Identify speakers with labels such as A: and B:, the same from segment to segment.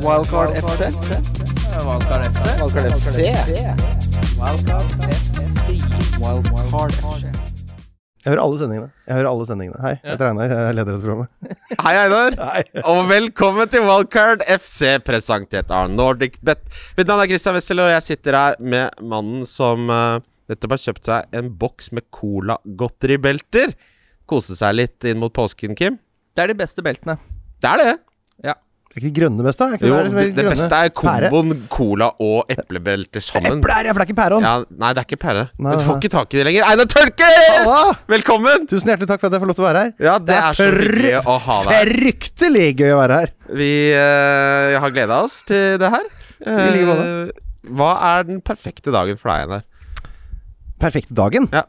A: Wildcard FC.
B: Valgkar FC.
A: Wildcard FC. Wildcard FC.
C: Jeg hører alle sendingene. Jeg hører alle sendingene. Hei, jeg heter Einar. Jeg er leder av dette programmet.
D: Hei, Einar.
C: Hei.
D: Og velkommen til Wildcard FC, presentert av NordicBet. Mitt navn er Christian Wessel, og jeg sitter her med mannen som eh, nettopp har kjøpt seg en boks med Cola Godteribelter. Kose seg litt inn mot påsken, Kim.
B: Det er de beste beltene.
D: Det er det.
C: Det er ikke de grønne beste? Er ikke
D: Jo,
C: det, der,
D: det, det
C: grønne?
D: beste er
C: Pære?
D: komboen cola og eplebelter sammen.
C: Eple er jeg, for det er ikke pæreånd!
D: Ja, nei, det er ikke pære.
C: Nei,
D: Men du
C: nei.
D: får ikke tak i det lenger. Einar Tørkes!
C: Halla!
D: Velkommen!
C: Tusen hjertelig takk for at jeg får lov til å være her.
D: Ja, det er så hyggelig å ha deg.
C: Fryktelig gøy å være her.
D: Vi eh, har gleda oss til det her.
C: I like måte.
D: Eh, hva er den perfekte dagen for deg, Einar?
C: Perfekte dagen.
D: Ja.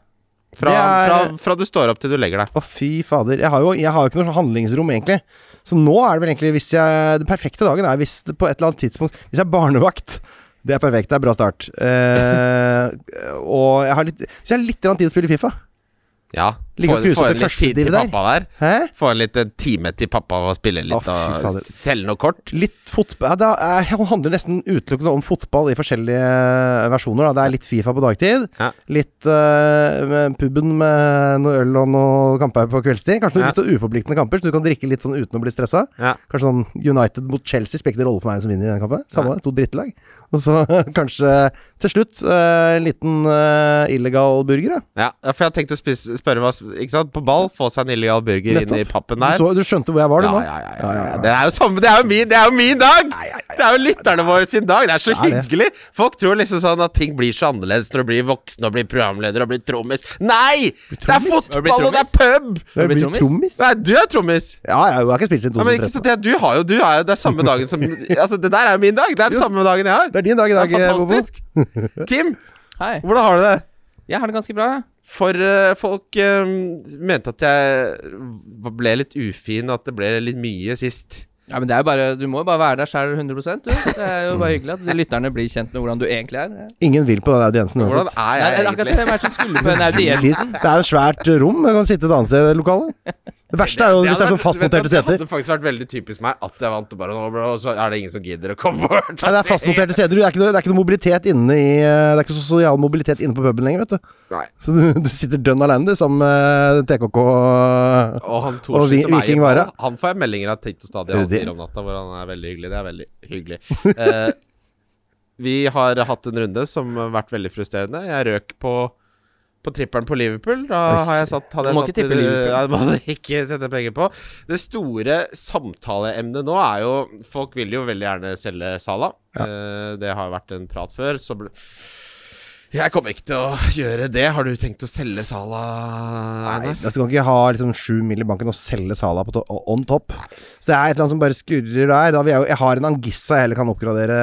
D: Fra,
C: Det er-
D: fra, fra du står opp til du legger deg.
C: Å, fy fader. Jeg har jo jeg har jo ikke noe handlingsrom, egentlig. Så nå er det vel egentlig hvis jeg Den perfekte dagen er hvis det på et eller annet tidspunkt Hvis jeg er barnevakt. Det er perfekt. Det er bra start. Eh, og jeg har litt Hvis jeg har litt grann tid å spille Fifa.
D: Ja.
C: Ligger
D: Få,
C: og cruiser
D: få
C: på
D: en litt
C: første
D: tid til
C: div der.
D: pappa der.
C: Hæ?
D: Få en liten time til pappa å spille
C: Å,
D: litt
C: fy
D: og
C: fader.
D: selge noe kort.
C: Litt fotball Det handler nesten utelukkende om fotball i forskjellige eh, versjoner. Da. Det er litt Fifa på dagtid.
D: Ja.
C: Litt eh, med puben med noe øl og noe kamper på kveldstid. Kanskje noen
D: Ja.
C: litt så uforpliktende kamper, så du kan drikke litt sånn uten å bli stressa.
D: Ja.
C: Kanskje sånn United mot Chelsea spiller ikke rolle for meg som vinner i den kampen. Samme det, to drittlag. Og så kanskje til slutt eh, en liten eh, illegal burger, ja.
D: Ja, ja, for jeg tenkte å spise, spørre hva Ikke sant, på ball, få seg en illegal burger inn i
C: Nettopp.
D: pappen
C: Du,
D: der.
C: så, du skjønte hvor jeg var, du
D: ja,
C: nå?
D: ja, ja, ja, ja. Det er jo samme, det er jo min, det er jo min dag! Det er jo lytterne våre sin dag! Det er så
C: Det er det.
D: hyggelig! Folk tror liksom sånn at ting blir så annerledes når du blir voksen og blir programleder og blir trommis. Nei! Det er
C: trommis?
D: fotball, og det er pub!
C: Det
B: blir
C: blir trommis?
D: Nei, du er trommis.
C: Ja, ja, jeg har ikke spilt siden
D: Ja, men ikke
C: 2013.
D: sant, det, du har jo, du er, jo- det er samme dagen som Altså, det der er jo min dag! Det er den samme dagen jeg har.
C: Det er din dag i dag,
D: Det er
C: Bobo.
D: fantastisk. Kim,
B: Hei.
D: hvordan har du det?
B: Jeg har det ganske bra.
D: For eh, folk eh, mente at jeg ble litt ufin, og at det ble litt mye sist.
B: Ja, men det er jo bare, Du må jo bare være deg sjæl 100 du. Det er jo bare hyggelig at lytterne blir kjent med hvordan du egentlig er.
C: Ingen vil på den audiensen
D: Hvordan er
B: Nei,
D: jeg
B: akkurat det,
D: egentlig?
B: Hvem er det som skulle på en audiens?
C: Listen. Det er jo et svært eh, rom. Man kan sitte et annet sted i lokalet. Det verste er jo hvis det er sånn fastmonterte
D: Det hadde
C: seter.
D: vært- vet du hva, det hadde faktisk vært veldig typisk meg at jeg vant og bare nå, bro, og så er det ingen som gidder å komme altså. bort.
C: Nei, det er fastmonterte seter. Det er ikke noe, det er ikke noe mobilitet inne i eh, Det er ikke sosial mobilitet inne på puben lenger, vet du.
D: Nei.
C: Så du, du sitter dønn alene, du, sammen med TKK og
D: Og han
C: Og
D: Thorsen
C: vi-
D: som eier
C: Viking Vara.
D: ballen, han får jeg meldinger av titt og stadig
C: Er
D: halv
C: det det?
D: fire om natta, hvor han er veldig hyggelig. Det er veldig hyggelig. Eh, vi har hatt en runde som har vært veldig frustrerende. Jeg røk på på trippelen på Liverpool. Da har jeg satt, hadde jeg
B: Du må ikke
D: satt,
B: tippe Liverpool.
D: Nei, det må du ikke sette penger på. Det store samtaleemnet nå er jo Folk vil jo veldig gjerne selge Sala. Eh, det har jo vært en prat før. Så ble, jeg kommer ikke til å gjøre det. Har du tenkt å selge Sala,
C: Nei,
D: Einar?
C: altså, du kan ikke ha liksom sju mil i banken og selge Sala på to on top. Så det er et eller annet som bare skurrer der. Da vil jeg, jo- jeg har en Angissa jeg heller kan oppgradere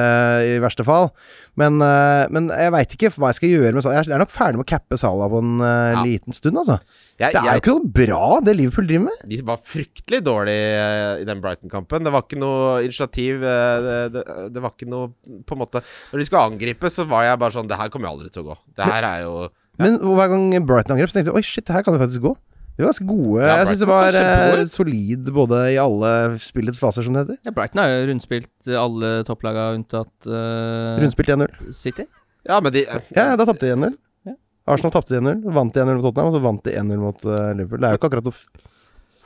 C: i verste fall. Men, eh, men jeg veit ikke hva jeg skal gjøre med Sala. Jeg er nok ferdig med å cappe Sala på en eh,
D: Ja.
C: liten stund, altså.
D: Jeg,
C: Det er jo
D: jeg,
C: ikke noe bra, det Liverpool driver med.
D: de var fryktelig dårlige eh, i den Brighton-kampen. Det var ikke noe initiativ. eh, Det, det, det var ikke noe på en måte Når de skulle angripe, så var jeg bare sånn Det her kommer jo aldri til å gå. Det her er jo
C: Men hver gang Brighton angrep, så tenkte jeg oi, shit, det her kan det faktisk gå. De var ganske gode.
D: Ja,
C: jeg syns det
D: Brighton
C: var
D: så kjempegode
C: eh, solid både i alle spillets faser, som det heter.
B: Ja, Brighton har jo rundspilt alle topplaga unntatt eh,
C: Rundspilt 1-0.
B: City.
D: Ja, men de eh,
C: Ja, ja, da tapte de 1-0.
B: Ja.
C: Arsenal tapte 1-0, vant 1-0 mot Tottenham, og så vant de 1-0 mot eh, Liverpool. Det er jo ikke akkurat å f-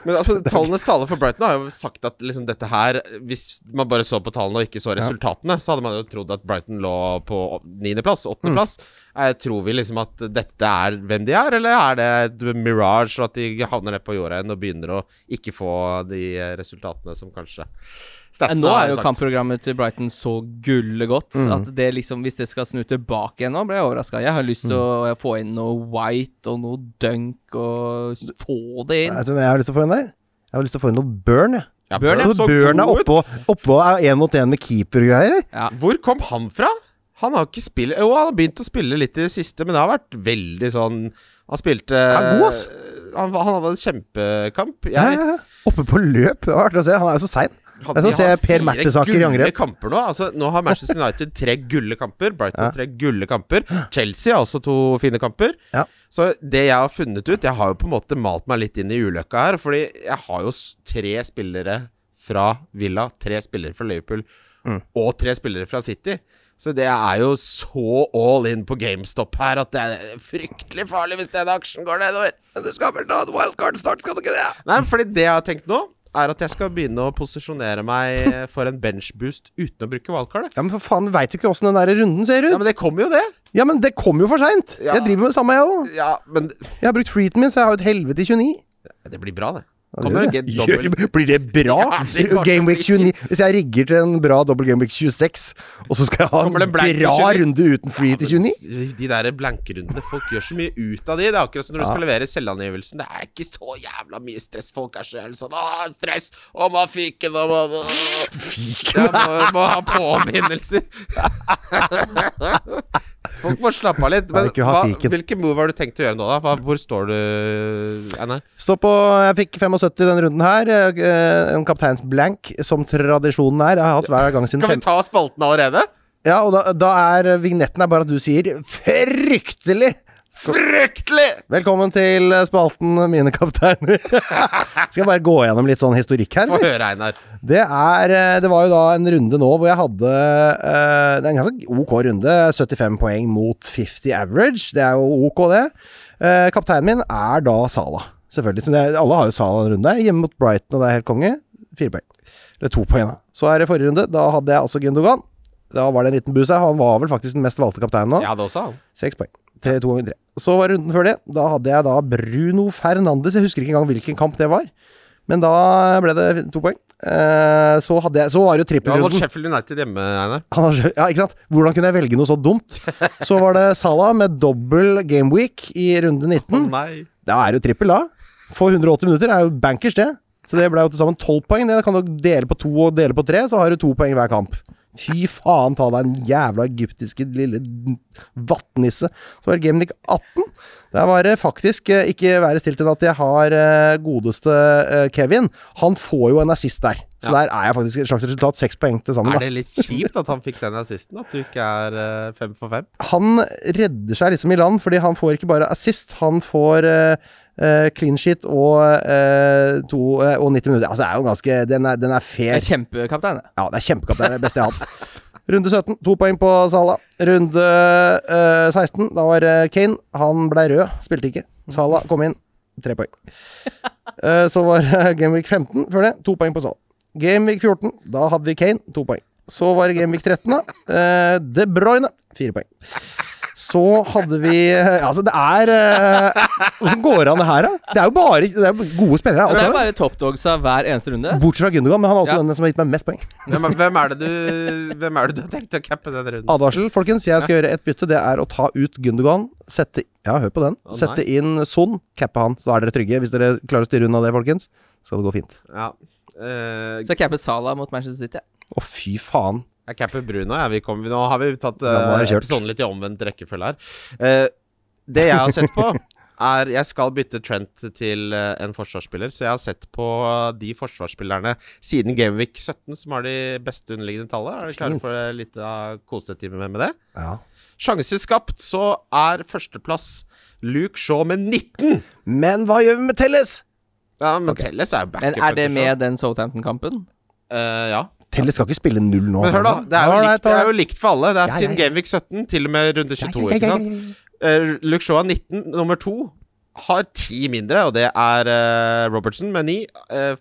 D: Men altså, tallenes tale for Brighton har jo sagt at liksom dette her Hvis man bare så på tallene og ikke så resultatene, så hadde man jo trodd at Brighton lå på
C: Mm.
D: niendeplass, åttendeplass. Eh, Tror vi liksom at dette er hvem de er, eller er det et mirage, og at de havner ned på jorda igjen og begynner å ikke få de eh, resultatene som kanskje
B: Ja,
D: Statsene
B: Nå
D: har
B: er jo
D: sagt.
B: kampprogrammet til Brighton så gullet godt at det liksom, hvis det skal snu tilbake igjen nå, ble jeg overraska. Jeg har lyst til å få inn noe White og noe Dunk og få det inn.
C: Nei, Vet du hva jeg har lyst til å få inn der? Jeg har lyst til å få inn noe Burn, jeg.
D: Ja,
B: Burn
C: Så
D: så
C: Burn er
D: god ut.
C: oppå, oppå er én mot én med keepergreier.
D: Hvor kom han fra? Han har ikke spilt Jo, han har begynt å spille litt i det siste, men det har vært veldig sånn Han spilte
C: er god, ass.
D: Han, var- han hadde en kjempekamp.
C: Ja,
D: Jeg,
C: ja, ja. Oppe på løp. Det var artig å se. Han er jo så sein. Det
D: Hadde
C: er
D: de
C: som å se
D: hatt
C: Per
D: fire
C: Mertesaker i
D: gulle
C: angrep.
D: kamper nå. Altså, nå har Manchester United tre gulle kamper. Brighton
C: Ja.
D: tre gulle kamper. Chelsea har også to fine kamper.
C: Ja.
D: Så det jeg har funnet ut Jeg har jo på en måte malt meg litt inn i ulykka her, fordi jeg har jo s- tre spillere fra Villa, tre spillere fra Liverpool.
C: Mm.
D: og tre spillere fra City. Så det er jo så all in på GameStop her at det er fryktelig farlig hvis den aksjen går nedover.
C: Du skal vel ta et wildcard snart, skal du ikke det?
D: Nei, fordi det jeg har tenkt nå, er at jeg skal begynne å posisjonere meg for en benchboost uten å bruke valgkartet.
C: Ja, men for faen, veit du ikke åssen den der runden ser ut?
D: Ja, men det kommer jo, det.
C: Ja, men det kom jo for seint!
D: Ja.
C: Jeg driver med det samme, jeg òg.
D: Ja, men
C: Jeg har brukt freeten min, så jeg har jo et helvete i 29.
D: det blir bra, det.
C: Ja, det gjør
D: Kommer en
C: det.
D: get- dobbel-
C: Gjør- Blir det bra?
D: Ja, det kommer
C: Game Week
D: til å bli-
C: 29 Hvis jeg rigger til en bra dobbel Game Week 26, og så skal jeg ha en
D: kommer det en blank i
C: bra
D: 29.
C: runde uten free til 29
D: De- De der blankerundene, folk gjør så mye ut av de. Det er akkurat som når du skal levere selvangivelsen. Det er ikke så jævla mye stress. Folk er så jævlig sånn Å, stress! Å, må ha fiken! Å, må, må, Ja, må, må ha påminnelser! Folk må slappe av litt. Men
C: Ja, ikke ha
D: hva,
C: fiken.
D: hvilke move har du tenkt å gjøre nå, da? Hva, hvor står du, Einar?
C: Stå på Jeg fikk 75 i denne runden her. eh, En kapteins blank, som tradisjonen er. Jeg har hatt hver gang siden
D: Kan vi
C: fem-
D: ta spalten allerede?
C: Ja, og da, da er vignetten er bare at du sier 'fryktelig'.
D: Fryktelig!
C: Velkommen til spalten Mine kapteiner. Skal jeg bare gå gjennom litt sånn historikk her?
D: Få
C: eller?
D: høre, Einar.
C: Det er eh, Det var jo da en runde nå hvor jeg hadde eh, Det er en ganske ok runde. 75 poeng mot 50 average. Det er jo ok, det. Eh, kapteinen min er da Sala. Selvfølgelig. Som det er, alle har jo Sala en runde. her. Hjemme mot Brighton, og det er helt konge. Fire poeng. Eller to poeng, da. Så er det forrige runde. Da hadde jeg altså Gundogan. Da var det en liten bus her. Han var vel faktisk den mest valgte kapteinen nå.
D: Jeg hadde også han.
C: Seks poeng. Tre, to ganger tre. Så var runden før det. Da hadde jeg da Bruno Fernandes. Jeg husker ikke engang hvilken kamp det var. Men da ble det to poeng. Eh, så, hadde jeg, så var det jo
D: Du har mot
C: trippelrunden.
D: Sheffield United hjemme, Einar.
C: Han har skjø- Ja, ikke sant? Hvordan kunne jeg velge noe så dumt? Så var det Salah med dobbel gameweek i runde 19.
D: Nei.
C: Da er det jo trippel, da. For 180 minutter er jo bankers, det. Så det ble jo til sammen 12 poeng. Det kan du dele på to og dele på tre, så har du to poeng hver kamp. Fy faen ta deg en jævla egyptiske lille vattnisse. Så var det Gamelik 18. Der var det faktisk eh, ikke være stilt enn at jeg har eh, godeste eh, Kevin. Han får jo en assist der. Så der er jeg faktisk et slags resultat. Seks poeng til sammen.
D: Er
C: da.
D: det litt kjipt at han fikk den assisten? At du ikke er eh, fem for fem?
C: han redder seg liksom i land, fordi han får ikke bare assist, han får eh, eh, clean sheet og, eh, to, eh, og 90 minutter. Altså, det er jo ganske Den er, den er
B: Jeg
C: fair.
B: er kjempekaptein, jeg.
C: Ja, det er kjempekamp. Det er det beste jeg har hatt. Runde 17, to poeng på Sala. Runde eh, 16, da var eh, Kane. Han ble rød, spilte ikke. Sala kom inn, tre poeng. Eh, så var uh, Gameweek 15 før det, to poeng på Sala. Gameweek 14, da hadde vi Kane, to poeng. Så var det Gameweek 13, da. Eh, De Bruyne, fire poeng. Så hadde vi eh, Altså, det er eh, Hvordan går det an, det her, da? Det er jo bare det er jo gode
B: Det
C: spillere.
B: er
C: Altså,
B: bare toppdogsa hver eneste runde.
C: bortsett fra Gundogan, men han er også
B: Ja.
C: den som har gitt meg mest poeng.
D: Hvem, er- hvem, er det du, hvem er det du har tenkt å cappe den runden?
C: Advarsel, folkens. Jeg skal gjøre et bytte. Det er å ta ut Gundogan. Sette Ja, hør på den.
D: Å, nei.
C: Sette inn Son. Cappe han, så da er dere trygge. Hvis dere klarer å styre unna det, folkens, skal det gå fint.
D: Ja. Eh,
B: Så jeg cappet Sala mot Manchester City.
C: Å, fy faen.
D: jeg capper Bruno. Ja. Vi kom, nå har vi tatt eh,
C: Da må det være kjørt.
D: episoden litt i omvendt rekkefølge her. Eh, det jeg har sett på, er Jeg skal bytte Trent til eh, en forsvarsspiller, så jeg har sett på de forsvarsspillerne siden Gameweek 17 som har de beste underliggende tallet. Er dere klare
C: Fint.
D: for en liten kosetime med det?
C: Ja.
D: Sjanser skapt, så er førsteplass Luke Shaw med 19.
C: Men hva gjør vi med Telles?
D: Ja, men Telles er jo backup.
B: Men er det
D: etter Shaw.
B: med den Southampton-kampen?
D: Eh, ja.
C: Telles skal ikke spille null nå.
D: Men hør, da. Det er, jo
C: Alright,
D: likt, det er jo
C: alright.
D: likt for alle. Det er
C: Ja, ja,
D: siden
C: ja.
D: Gameweek 17 til og med runde 22.
C: Ja, ja, ja,
D: ikke
C: ja,
D: sant?
C: ja, ja.
D: Eh, Luke Shaw er 19, nummer 2 har 10 mindre, og det er eh, Robertson med 9.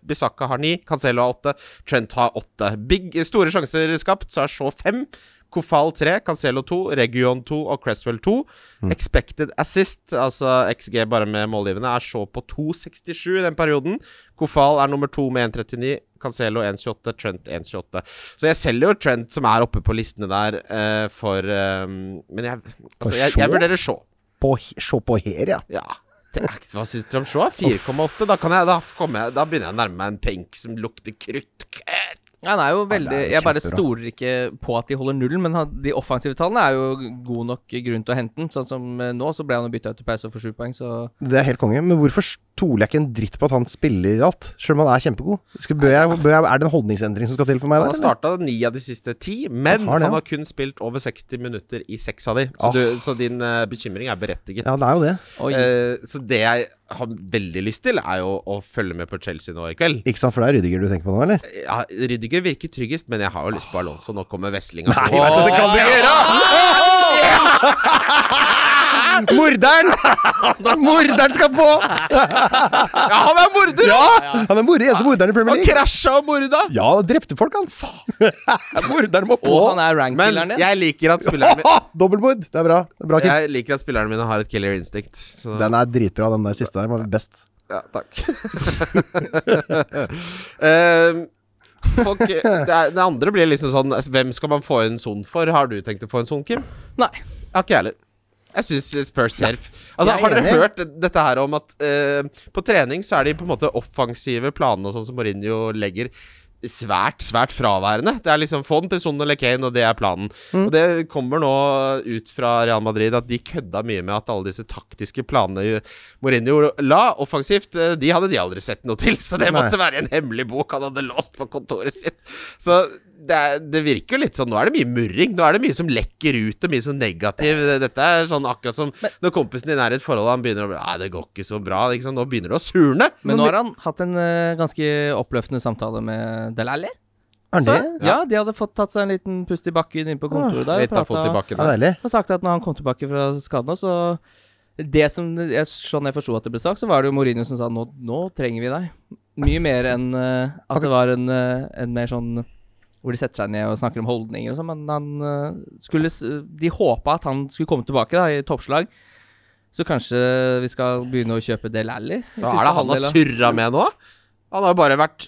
D: Bisakka har 9, Cancelo har 8, Trent har 8. Big, store sjanser skapt, så er Shaw 5. Kofal 3, Cancelo 2, Region 2 og Cresswell 2. Expected assist, altså XG bare med målgivende, er Shaw på 2,67 i den perioden. Kofal er nummer 2 med 1,39, Cancelo 1,28, Trent 1,28. Så jeg selger jo Trent, som er oppe på listene der, eh, for eh, Men jeg, altså, jeg,
C: Shaw?
D: jeg vurderer Shaw.
C: På, se på her, ja.
D: Ja. Det er, ikke- hva syns dere om Shaw? 4,8. Da, kan jeg- da, kommer jeg- da begynner jeg å nærme meg en penk som lukter krutt.
B: Han er jo veldig
C: jo
B: Jeg bare
C: kjempebra.
B: stoler ikke på at de holder nullen, men han, de offensive tallene er jo god nok grunn til å hente den. Sånn som eh, nå, så ble han jo bytta ut til pause for sju poeng, så
C: Det er helt konge. Men hvorfor stoler jeg ikke en dritt på at han spiller alt? Selv om han er kjempegod. Skal, bør jeg, bør jeg, er det en holdningsendring som skal til for meg?
D: Han har
C: der, eller?
D: starta ni av de siste ti, men
C: Han har det,
D: han
C: ja.
D: har kun spilt over 60 minutter i seks av de. Så,
C: Ah.
D: du, så din eh, bekymring er berettiget.
C: Ja, det er jo det.
B: Oi.
D: Eh, så det jeg har veldig lyst til, er jo å følge med på Chelsea nå i kveld.
C: Ikke sant, for det er Rydiger du tenker på nå, eller?
D: Ja, Rydiger Norge virker tryggest, men jeg har jo lyst på Alonso. Nå kommer veslinga
C: Nei,
D: på.
C: vet du, det kan du gjøre! Morderen! Morderen skal på!
D: Ja, han er morder!
C: Ja!
D: da!
C: Han er morder, eneste morderen i Premier
D: Han
C: League.
D: krasja og morda!
C: Ja, og drepte folk, han. Morderen må på.
B: Og han er
D: Men
B: rank-killeren din.
D: jeg liker at spilleren min
C: Dobbeltmord. Det er bra. Det er bra Kim.
D: Jeg liker at spillerne mine har et killer instinct. Så
C: Den er dritbra, den der siste der. var Best.
D: Ja, takk. Ehm, folk, det, er, det andre blir liksom sånn altså, Hvem skal man få en son for? Har du tenkt å få en son, Kim?
B: Nei.
D: Jeg har ikke jeg heller. Jeg syns Spurs Serf
C: Jeg
D: Altså,
C: er
D: Har dere
C: enig.
D: hørt dette her om at eh, på trening så er de på en måte offensive planene og sånn som Mourinho legger svært, svært fraværende. Det er liksom Fond til Son eller Kane, og det er planen.
C: Mm.
D: Og det kommer nå ut fra Real Madrid at de kødda mye med at alle disse taktiske planene jo- Mourinho la offensivt, eh, de hadde de aldri sett noe til. Så det
C: Nei.
D: måtte være en hemmelig bok han hadde låst på kontoret sitt. Så det, er, det virker jo litt sånn Nå er det mye murring. Nå er det mye som lekker ut, og mye som negativ. Dette er sånn akkurat som når kompisen din er i et forhold, og han begynner å bli Nei, det går ikke så bra. Ikke sant? Nå begynner det å surne.
B: Men nå har han hatt en eh, ganske oppløftende samtale med Delali.
C: Er han
B: Så,
C: det?
B: ja, de hadde fått tatt seg en liten pust i bakken inne på kontoret der. og
D: Litt av fot
B: pratet-
C: Ja,
D: tilbake
C: det er
D: der.
C: deilig.
B: har sagt at når han kom tilbake fra skaden nå, så det som jeg, Sånn jeg forsto at det ble sagt, så var det jo Mourinho som sa nå, nå trenger vi deg. Mye mer enn eh, at det var en, eh, en mer sånn hvor de setter seg ned og snakker om holdninger og sånn, men han eh, skulle s- De håpa at han skulle komme tilbake da, i toppslag. Så kanskje vi skal begynne å kjøpe Del Alli? i
D: Hva
B: siste
D: er det han har
B: halvdel av-
D: surra med nå? Han har jo bare vært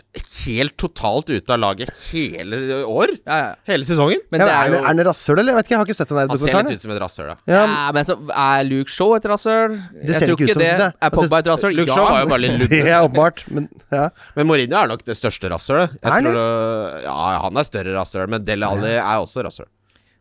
D: helt totalt ute av laget hele år.
B: Ja, ja.
D: Hele sesongen.
B: Men
C: Ja,
B: det er
C: men
B: jo
C: er han er rasshøl, eller? Jeg vet ikke, jeg har ikke sett den der
D: Han ser
C: dokumentaren.
D: litt ut som et rasshøl, da.
C: Ja,
B: ja, men så er Luke Shaw et rasshøl?
C: Det
B: Jeg
C: ser
B: tror
C: ikke ut
B: ikke
C: som,
B: det.
C: synes jeg.
B: Er
C: Jeg synes-
B: Pogba et rasshøl?
D: Luke Shaw var jo bare litt
C: det er åpenbart. Men ja.
D: Men Mourinho er nok det største rasshølet. Jeg
C: Er han
D: tror det- Ja, han er større rasshøl, men Dele Alli er også rasshøl.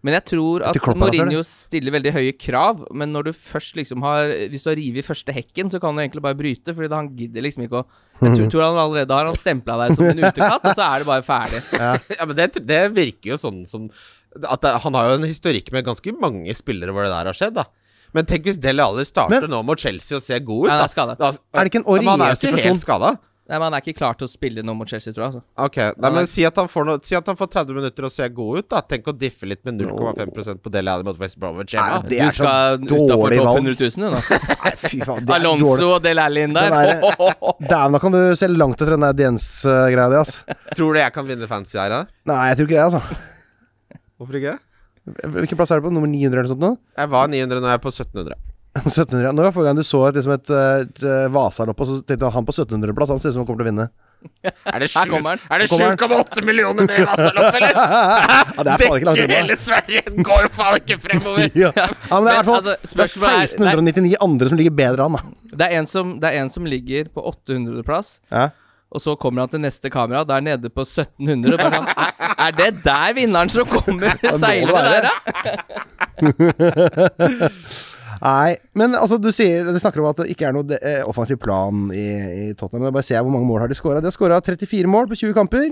B: Men jeg tror at
C: Etter Klopp, altså,
B: Mourinho stiller veldig høye krav, men når du først liksom har Hvis du har revet første hekken, så kan du egentlig bare bryte, fordi da han gidder liksom ikke å Jeg tror, tror han allerede har han stempla deg som en utekatt, og så er det bare ferdig.
D: Ja, men det, det virker jo sånn som at det, Han har jo en historikk med ganske mange spillere hvor det der har skjedd, da. Men tenk hvis Dele Alli starter nå mot Chelsea og ser god ut,
B: Ja, han
D: da.
B: er skadet.
D: da
C: Er det ikke en
D: Ja, men Han er jo ikke
C: Aurier-situasjon?
D: helt skada.
B: Nei, men han er ikke klar til å spille nå mot Chelsea, tror jeg. Altså.
D: Ok,
B: Han
D: Nei,
B: er-
D: men si at, han får noe, si at han får 30 minutter og ser god ut, da. Tenk å diffe litt med 0,5 på Dele Alli mot West Bromwich hjemme.
C: Nei,
D: da.
C: Det er
B: Du
C: så
B: skal utafor
C: dårlig
B: topp
C: valg.
B: 100 000, du nå.
C: Nei, fy faen. det er dårlig.
B: altså. Alonso og Del Alli inn der.
C: Den er-
B: Ho, ho, ho.
C: Dæven, da kan du se langt etter den der DNS-greia di, ass.
D: Tror du jeg kan vinne fancy her, da?
C: Nei, jeg tror ikke det, altså.
D: Hvorfor ikke?
C: Hvilken plass er du på? Nummer 900 eller noe sånt nå?
D: Jeg var 900 når jeg er på 1700.
C: 1700. Nå var forrige gang du så liksom et, eh, et eh, vase her oppe, og så tenkte jeg han på 1700-plass, han ser ut som han kommer til å vinne.
D: Er det
B: Her kommer han.
D: sju- er det
C: Her kommer han.
D: 7,8 millioner mer Vasalopp, eller?
C: Ja, det er faen ikke langt
D: Dekker
C: unna.
D: hele Sverige! Den går jo faen ikke fremover!
C: Ja. ja, men det er i hvert
B: Men,
C: fall
B: altså,
C: det er
B: spørsmålet er-
C: 1699 andre som ligger bedre an, da.
B: Det er en som, det er en som ligger på 800.-plass.
C: Ja.
B: Og så kommer han til neste kamera, der nede på 1700. Og bare sånn, "Er- er det der vinneren som kommer seilende der, da?
C: Nei, men altså, du sier Du snakker om at det ikke er noe de- eh, offensiv plan i, i Tottenham. Men jeg bare ser hvor mange mål har de skåra. De har skåra 34 mål på 20 kamper.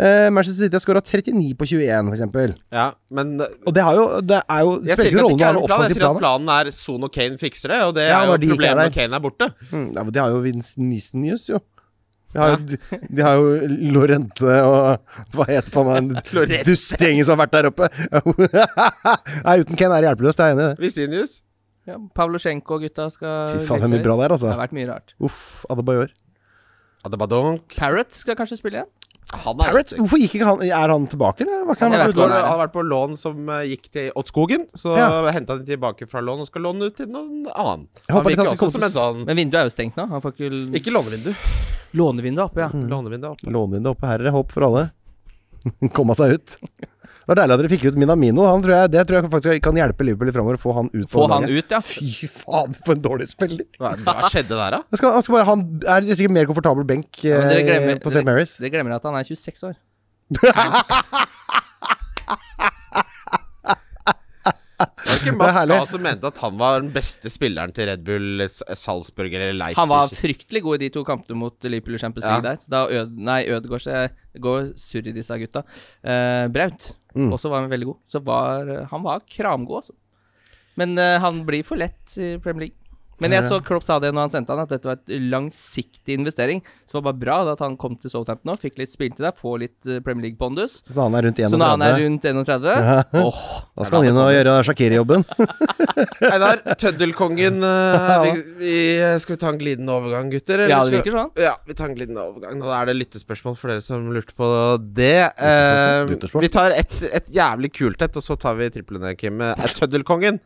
C: Eh, Manchester City har skåra 39 på 21, f.eks.
D: Ja, men
C: Og det, har jo, det er jo
D: jeg sier
C: spiller jo
D: ikke at det
C: rollen å ha
D: ikke
C: en
D: er en
C: offensiv
D: plan, jeg sier at
C: plan. da.
D: planen er Son og Kane fikser det, og det
C: Ja,
D: er jo
C: når de ikke er
D: problemet når
C: der.
D: Kane er borte.
C: Mm, ja, men de har jo Vince Neeson News, jo. De har jo, de har jo Lorente og Hva heter faen meg den
D: Lorente.
C: dustgjengen som har vært der oppe? Nei, uten Kane er det hjelpeløst, jeg er enig i det.
D: Visinius.
B: Ja, Pavlosjenko og gutta skal
C: Fy faen,
B: legge seg
C: det er mye bra
B: ut.
C: der,
B: Det har
C: altså.
B: vært mye rart.
C: Uff, Adebayor.
D: Adebadonk.
B: Parrot skal kanskje spille igjen?
D: Han er
C: Parrot, hvorfor gikk ikke han Er han tilbake, eller? Var ikke han
D: Han
B: Jeg vet
D: har, vært på,
B: hvor han er.
D: han har vært på lån som eh, gikk til Oddskogen. Så
C: Ja.
D: hentet henta han tilbake fra lån og skal låne ut til noen annen.
C: Jeg
D: Han
C: håper ikke
D: virker
C: han skal
D: også som
C: komme
D: en sånn
B: Men vinduet er jo stengt nå. Han får ikke l-
D: Ikke lånevindu.
B: lånevinduet oppe, ja.
C: Mm.
D: Lånevindu opp.
C: Lånevinduet oppe her, håp for alle. Komme seg ut. Det var deilig at dere fikk ut Minamino. Han tror jeg, det tror jeg faktisk kan hjelpe Liverpool i framover. Få han ut. på
B: Få
C: laget.
B: han ut, ja.
C: Fy faen, for en dårlig spiller.
D: Hva, hva skjedde der, da?
C: Han, skal, han, skal bare, han er sikkert mer komfortabel benk
B: men dere
C: eh,
B: glemmer-
C: på St. Mary's.
B: Dere glemmer at han er 26 år.
D: Var det ikke
C: Det
D: Mats
C: er herlig.
D: Gahr som mente at han var den beste spilleren til Red Bull eh, Salzburg eller Leipzig?
B: Han var fryktelig god i de to kampene mot Liverpool i Champions League der. Da Ød, nei, Ødegaard seg går surr i disse gutta. Eh, Braut også var veldig god. Så var, han var kramgod, altså. Men eh, han blir for lett i Premier League. Men jeg så Klopp sa det når han sendte han, at dette var et langsiktig investering. Så det var bare bra da at han kom til Southampton nå, fikk litt spiltid der, får litt eh, Premier League-pondus.
C: Så han er rundt 31.
B: Så når han er rundt 31 Åh,
C: da skal han inn og gjøre Shakiri-jobben.
D: Einar, tøddelkongen eh, vi, vi, Skal vi ta en glidende overgang,
B: Ja,
D: gutter? eller
B: det
D: skal-
B: virker sånn.
D: Ja, vi tar en glidende overgang. Da er det lyttespørsmål for dere som lurte på det. Eh,
C: Lyttespørsmål.
D: vi tar et, et jævlig kult et, og så tar vi triplene, Kim. Eh, Tøddelkongen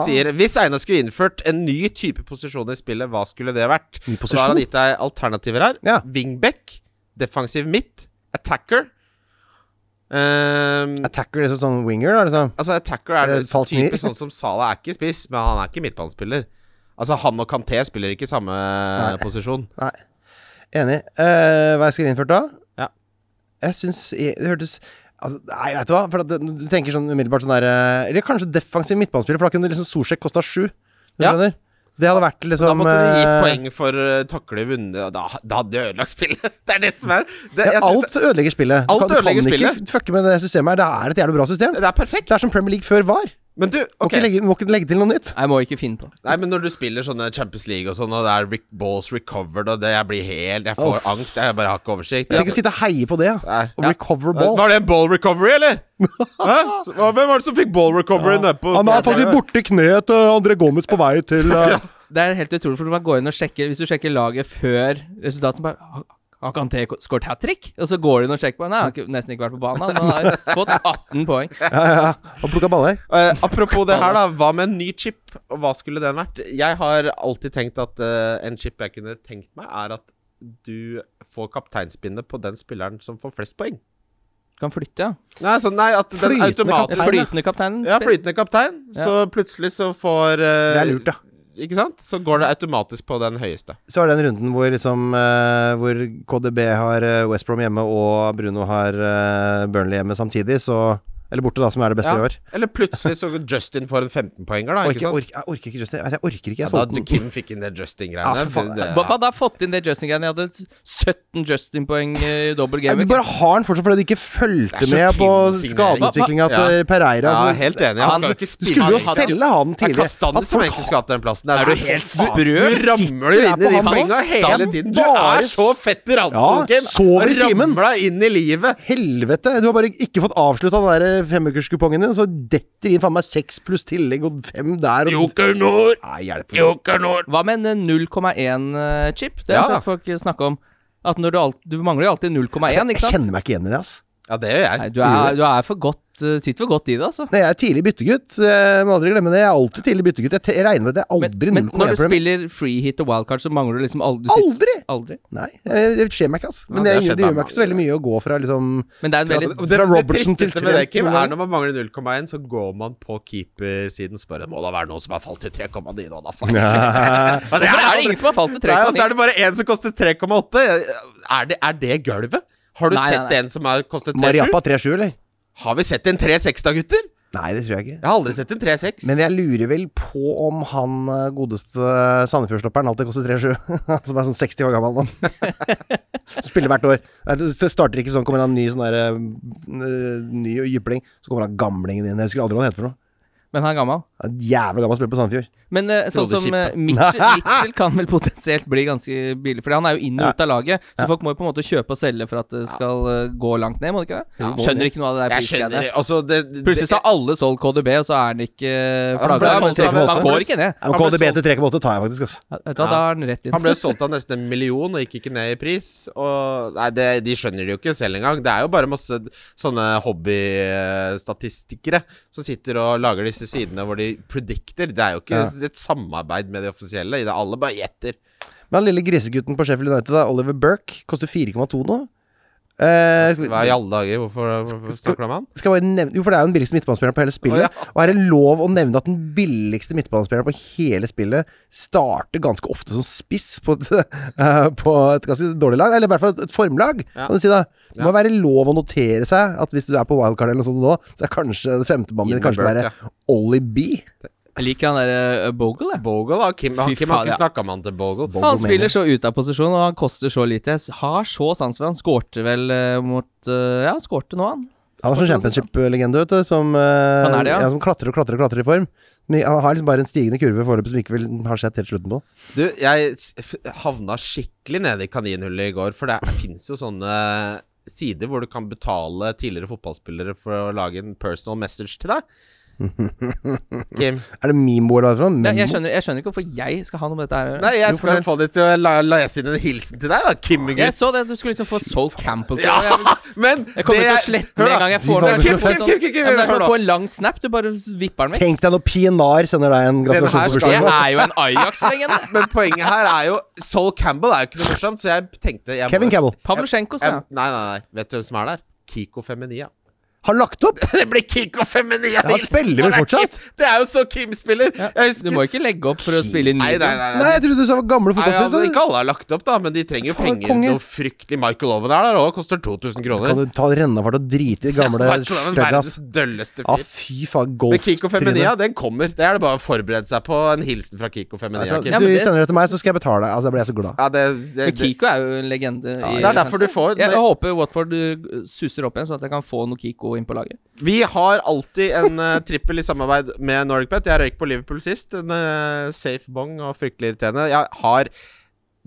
D: sier Hvis Einar skulle innført en ny type posisjon i spillet, hva skulle det vært?
C: Ny
D: Og Da har han
C: posisjon?
D: gitt deg alternativer her.
C: Ja.
D: Wingback, defensiv midt, attacker. Eh,
C: Attacker liksom sånn winger, da, liksom.
D: Altså, attacker er
C: Eller
D: det så
C: falsk nier.
D: typisk sånn som Sala er ikke spiss, men han er ikke midtbanespiller. Altså, han og Kanté spiller ikke samme posisjon.
C: Nei. Enig. Eh, hva jeg skulle innført da?
D: Ja.
C: Jeg syns Det hørtes altså, Nei, vet du hva. For at det, du tenker sånn umiddelbart sånn der eh, Eller kanskje defensiv midtbanespiller, for da kunne liksom Solsjekk kosta sju. Du
D: Ja.
C: skjønner? Det hadde vært liksom
D: Da måtte de gitt
C: eh,
D: poeng for uh, takle vunnet, og da, da hadde de ødelagt spillet. Det er det som er det,
C: ja,
D: jeg synes
C: alt ødelegger spillet. Du
D: Alt
C: kan,
D: ødelegger
C: du kan
D: spillet.
C: ikke f- fucke med det systemet her. Det er et jævlig bra system.
D: det, det er perfekt.
C: Det er som Premier League før var.
D: Men du,
C: Må,
D: ok
C: ikke legge, må ikke legge til noe nytt.
B: Jeg må ikke finne på.
D: Nei, men når du spiller sånne Champions League og sånn, og det er Rick Balls recovered, og det, jeg blir helt Jeg får
C: Uff.
D: angst. Jeg bare har ikke oversikt.
C: Ikke sitte og heie på det. ja.
D: Nei.
C: Og recover balls.
D: Var det en ball recovery, eller? Hæ? Så- Hvem var det som fikk ball recovery nedpå?
C: Han er faktisk borti kneet til André Gomez på vei til eh,
B: Det er helt utrolig, for du må gå inn og sjekke Hvis du sjekker laget før resultatet bare "Har- Har Kanté skåret hat trick? Og så går du inn og sjekker bare Nei, han har ikke- nesten ikke vært på banen. Han har fått 18 poeng.
C: Ja, ja, ja. Og plukka baller.
D: Eh, apropos det her, da. Hva med en ny chip? Og hva skulle den vært? Jeg har alltid tenkt at eh, en chip jeg kunne tenkt meg, er at du får kapteinspinnet på den spilleren som får flest poeng.
B: Kan flytte, ja.
D: Nei, sånn, nei at den
C: Flytende
D: automatisk
B: Den flytende kapteinen.
D: Ja,
B: spiller.
D: flytende kaptein.
B: Ja.
D: Så plutselig så får eh,
C: Det er lurt, ja.
D: Ikke sant? Så går det automatisk på den høyeste.
C: Så er det den runden hvor, liksom, eh, hvor KDB har eh, West Brom hjemme og Bruno har eh, Burnley hjemme samtidig, så Eller borte, da, som er det beste
D: Ja.
C: i år.
D: Eller plutselig så Justin får en 15-poenger, da.
C: Orker,
D: Ikke sant?
C: orker- jeg orker ikke Justin. Altså, Jeg jeg orker ikke.
D: Ja,
C: Jeg
D: da
C: solgte den.
D: Kim fikk inn det
C: Ja,
D: Justin-greiene.
C: for faen.
D: Det-
B: Hva hva da? Fått inn det Justin-greiene? Jeg hadde 17 Justin-poeng eh, i dobbel
C: Ja,
B: game.
C: du
B: ikke?
C: bare har den fortsatt fordi du ikke fulgte
D: Det er så
C: med på
D: Kim-signering.
C: skadeutviklinga
D: Hva- hva-
C: til Pereira.
D: ja,
C: så-
D: helt enig. Han skal jo ikke
C: du
D: spille
C: skulle jo
D: han-
C: selge han
D: Det er
C: tidlig.
D: Kastander
C: At
D: som
C: folk
D: egentlig skal ha den plassen. Der.
B: Er du
D: Så
B: helt
D: faen,
B: sprø?
D: Du ramler jo inn i
C: Sitter der
D: de
C: på
D: penga
C: hans
D: hele
C: stand.
D: tiden. Du
C: Bare
D: er så fett i
C: Ja,
D: ranten, Kim.
C: sover i timen.
D: Ramla inn i livet.
C: Helvete! Du har bare ikke fått avslutta den der femukerskupongen din, så detter inn faen meg seks pluss tillegg og fem der og
D: Jokernord,
C: Nei, hjelp.
D: jokernord.
B: Hva med en 0,1-chip? Det
D: Ja,
B: har jeg
D: da.
B: sett folk snakke om. At når du, alt, du mangler jo alltid 0,1,
C: Jeg
B: ikke sant?
C: kjenner meg ikke igjen i det, ass.
D: Ja, det gjør
B: Nei,
D: jeg.
B: du er, du er for godt eh, Sitter for godt i det, altså.
C: Nei, jeg er tidlig byttegutt. Jeg må aldri glemme det. Jeg er alltid tidlig byttegutt. Jeg, te- jeg regner med at jeg
B: Men,
C: aldri
B: men når
C: 0,1
B: du
C: problem.
B: spiller free hit og wildcard, så mangler du liksom aldri du sitter-
C: Aldri!
B: Aldri.
C: Nei, jeg- det skjer meg ikke, ass. Men
D: Ja, det
C: det,
D: har skjedd
C: det gjør
D: meg
C: meg ikke så veldig mye å gå fra liksom
B: Men det er en
D: Ja,
B: veldig
D: det, det, det,
C: Robertson til
D: tristeste med det,
C: Trent
D: Kim,
C: noen
D: er
C: ganger.
D: når man mangler 0,1, så går man på keepersiden og spør Må da være noen som har falt til 3,9 nå, da, faen.
C: Ja.
D: Ja, det
B: Hvorfor er det ingen som har falt til
D: Nei, og så
B: 3,9?
D: er det bare én som koster 3,8. Er, det- er det gulvet? Har du
B: Nei,
D: sett
B: nei, nei.
D: en som har kostet 3,7?
C: Mariappa 3-7, eller?
D: Har vi sett en 3,6 da, gutter?
C: Nei, det tror jeg ikke.
D: Jeg har aldri sett en 3,6.
C: Men jeg lurer vel på om han eh, godeste Sandefjord-stopperen alltid koster 3-7. Han som er sånn 60 år gammel nå. Spiller hvert år. Nei, Det det starter ikke sånn, kommer han ny sånn derre Ny jypling. Så kommer han gamlingen inn. Jeg husker aldri hva han heter for noe.
B: Men han er gammel.
C: Han er Jævla gammel spiller på Sandefjord.
B: Men eh, sånn
D: Frode
B: som
D: Kippe.
B: eh, Mitchell, Mitchell kan vel potensielt bli ganske billig, Fordi han er jo inn og ut av laget. Så folk må jo på en måte kjøpe og selge for at det skal eh, gå langt ned, må det ikke det? Skjønner ikke noe av det der
D: Jeg
B: prisgreiene.
D: skjønner altså, det, det,
B: Plutselig så har alle solgt KDB, og så er han ikke eh,
D: sånn Han ble
B: flagget.
D: solgt
B: Han,
D: av-
B: han går ikke ned.
C: Ja, men
D: Han ble
C: KDB til 3,8 tar jeg faktisk, altså.
B: Ja, Vet du hva, da er han rett inn.
D: Han ble solgt av nesten en million og gikk ikke ned i pris. Og nei, det, De skjønner det jo ikke selv engang. Det er jo bare masse sånne hobbystatistikere som sitter og lager disse sidene hvor de predicter. Det er jo ikke et samarbeid med de offisielle. Det er alle bare gjetter.
C: Men han lille grisegutten på Sheffield United, da, Oliver Burke, koster 4,2 nå. Eh, skal,
D: Hva i
C: vi-
D: alle dager? Hvorfor, hvorfor snakker du om han?
C: skal jeg bare nevne Jo, for det er jo den billigste midtbanespilleren på hele spillet.
D: Å,
C: Og er det lov å nevne at den billigste midtbanespilleren på hele spillet starter ganske ofte som spiss på et, eh, på et ganske dårlig lag? Eller i hvert fall et, et formlag, kan du si da. Det må være lov å notere seg at hvis du er på wildcard eller noe sånt nå, så er kanskje femtemannen din
D: Inn med
C: kanskje være
D: Burke,
C: Ollie B.
B: Jeg liker han derre Bogle, jeg.
D: Bogle, da. Kim, han,
B: Fy
D: Kim har
B: faen,
D: ikke
B: ja.
D: snakka med han til Bogle.
C: Bogle.
B: Han
C: Bogle
B: spiller
C: Mania.
B: så ut av posisjon, og han koster så lite. Jeg har så sans for han. Skårte vel eh, mot eh, Ja, han skårte nå, han.
C: Han er sånn championship-legende, vet du. Som, eh,
B: Han er det, ja.
C: som klatrer og klatrer og klatrer i form. Men han har liksom bare en stigende kurve foreløpig som ikke vil, har sett helt slutten på.
D: Du, jeg s- f- havna skikkelig nede i kaninhullet i går, for det fins jo sånne sider hvor du kan betale tidligere fotballspillere for å lage en personal message til deg. Kim.
C: Er det Mimo eller hva det er for noe?
B: Ja, jeg,
C: Memo?
B: skjønner, jeg skjønner ikke hvorfor jeg skal ha noe med dette her å gjøre.
D: Nei, jeg
B: Jo,
D: skal
B: for-
D: jo få dem til å la- lese inn en hilsen til deg, da, Kim.
B: Jeg
D: Inge.
B: så det, du skulle liksom få Soul Campbell til
D: Ja,
B: å- jeg-
D: men
B: Jeg kommer til å slette den en gang jeg får den.
C: de var
B: Jeg
C: så
B: tror jeg får en
D: fett. Kim, Kim,
B: sånn-
D: Kim,
B: Ja, men Det er som
D: hør
B: å
D: nå.
B: få en lang snap, du bare vipper den vekk.
C: Tenk deg når PNR sender deg en
D: Den her
C: gratulasjon på
D: skal
B: Det
D: jeg
C: bursdagen.
B: er jo en Ajax-legende.
D: Men poenget her er jo Sol Campbell er jo ikke noe morsomt, så jeg tenkte jeg må-
C: Kevin Campbell
B: Pavlosjenko,
D: Jeg,
B: sa jeg.
D: nei, nei, nei. Vet du hvem som er der? Kiko Feminia.
C: har lagt opp!
D: det blir Kiko Feminia!
C: Ja, han spiller vel
D: Det er Kim-
C: fortsatt?
D: Det er jo så Kim spiller. Jeg
B: Du
D: husker
B: må ikke legge opp for å spille inn
D: Nei, nei,
B: video.
D: nei.
C: Nei, jeg trodde du sa gamle
D: Nei, ja, men
C: fotballspillere.
D: ikke alle har lagt opp, da, men de trenger jo
C: Faen,
D: penger.
C: konge.
D: Noe fryktelig Michael Owen er der òg, koster 2000
C: Kan
D: kroner.
C: du ta rennafart og drite i gamle
D: Michael Owen, verdens
C: styggass?
D: dølleste
C: Ja,
D: fyr.
C: fy faen.
D: Men Kiko Feminia,
C: Golftryne.
D: den kommer. Det er det bare å forberede seg på. En hilsen fra Kiko
C: Du
D: Feminia. Kim.
B: Ja, men det-
C: sender det til meg, så skal jeg betale deg. Altså, da blir jeg så glad.
D: Ja, det, det,
B: Men
D: det.
B: Kiko er jo en legende. i
D: det er derfor du
B: fantasy.
D: får-
B: Jeg håper Watford uh, suser opp igjen, sånn at jeg kan få noe Kiko inn på laget.
D: Vi har alltid en uh, trippel i samarbeid med NordicBet. Jeg røyk på Liverpool sist. En eh, safe bong og fryktelig irriterende. Jeg har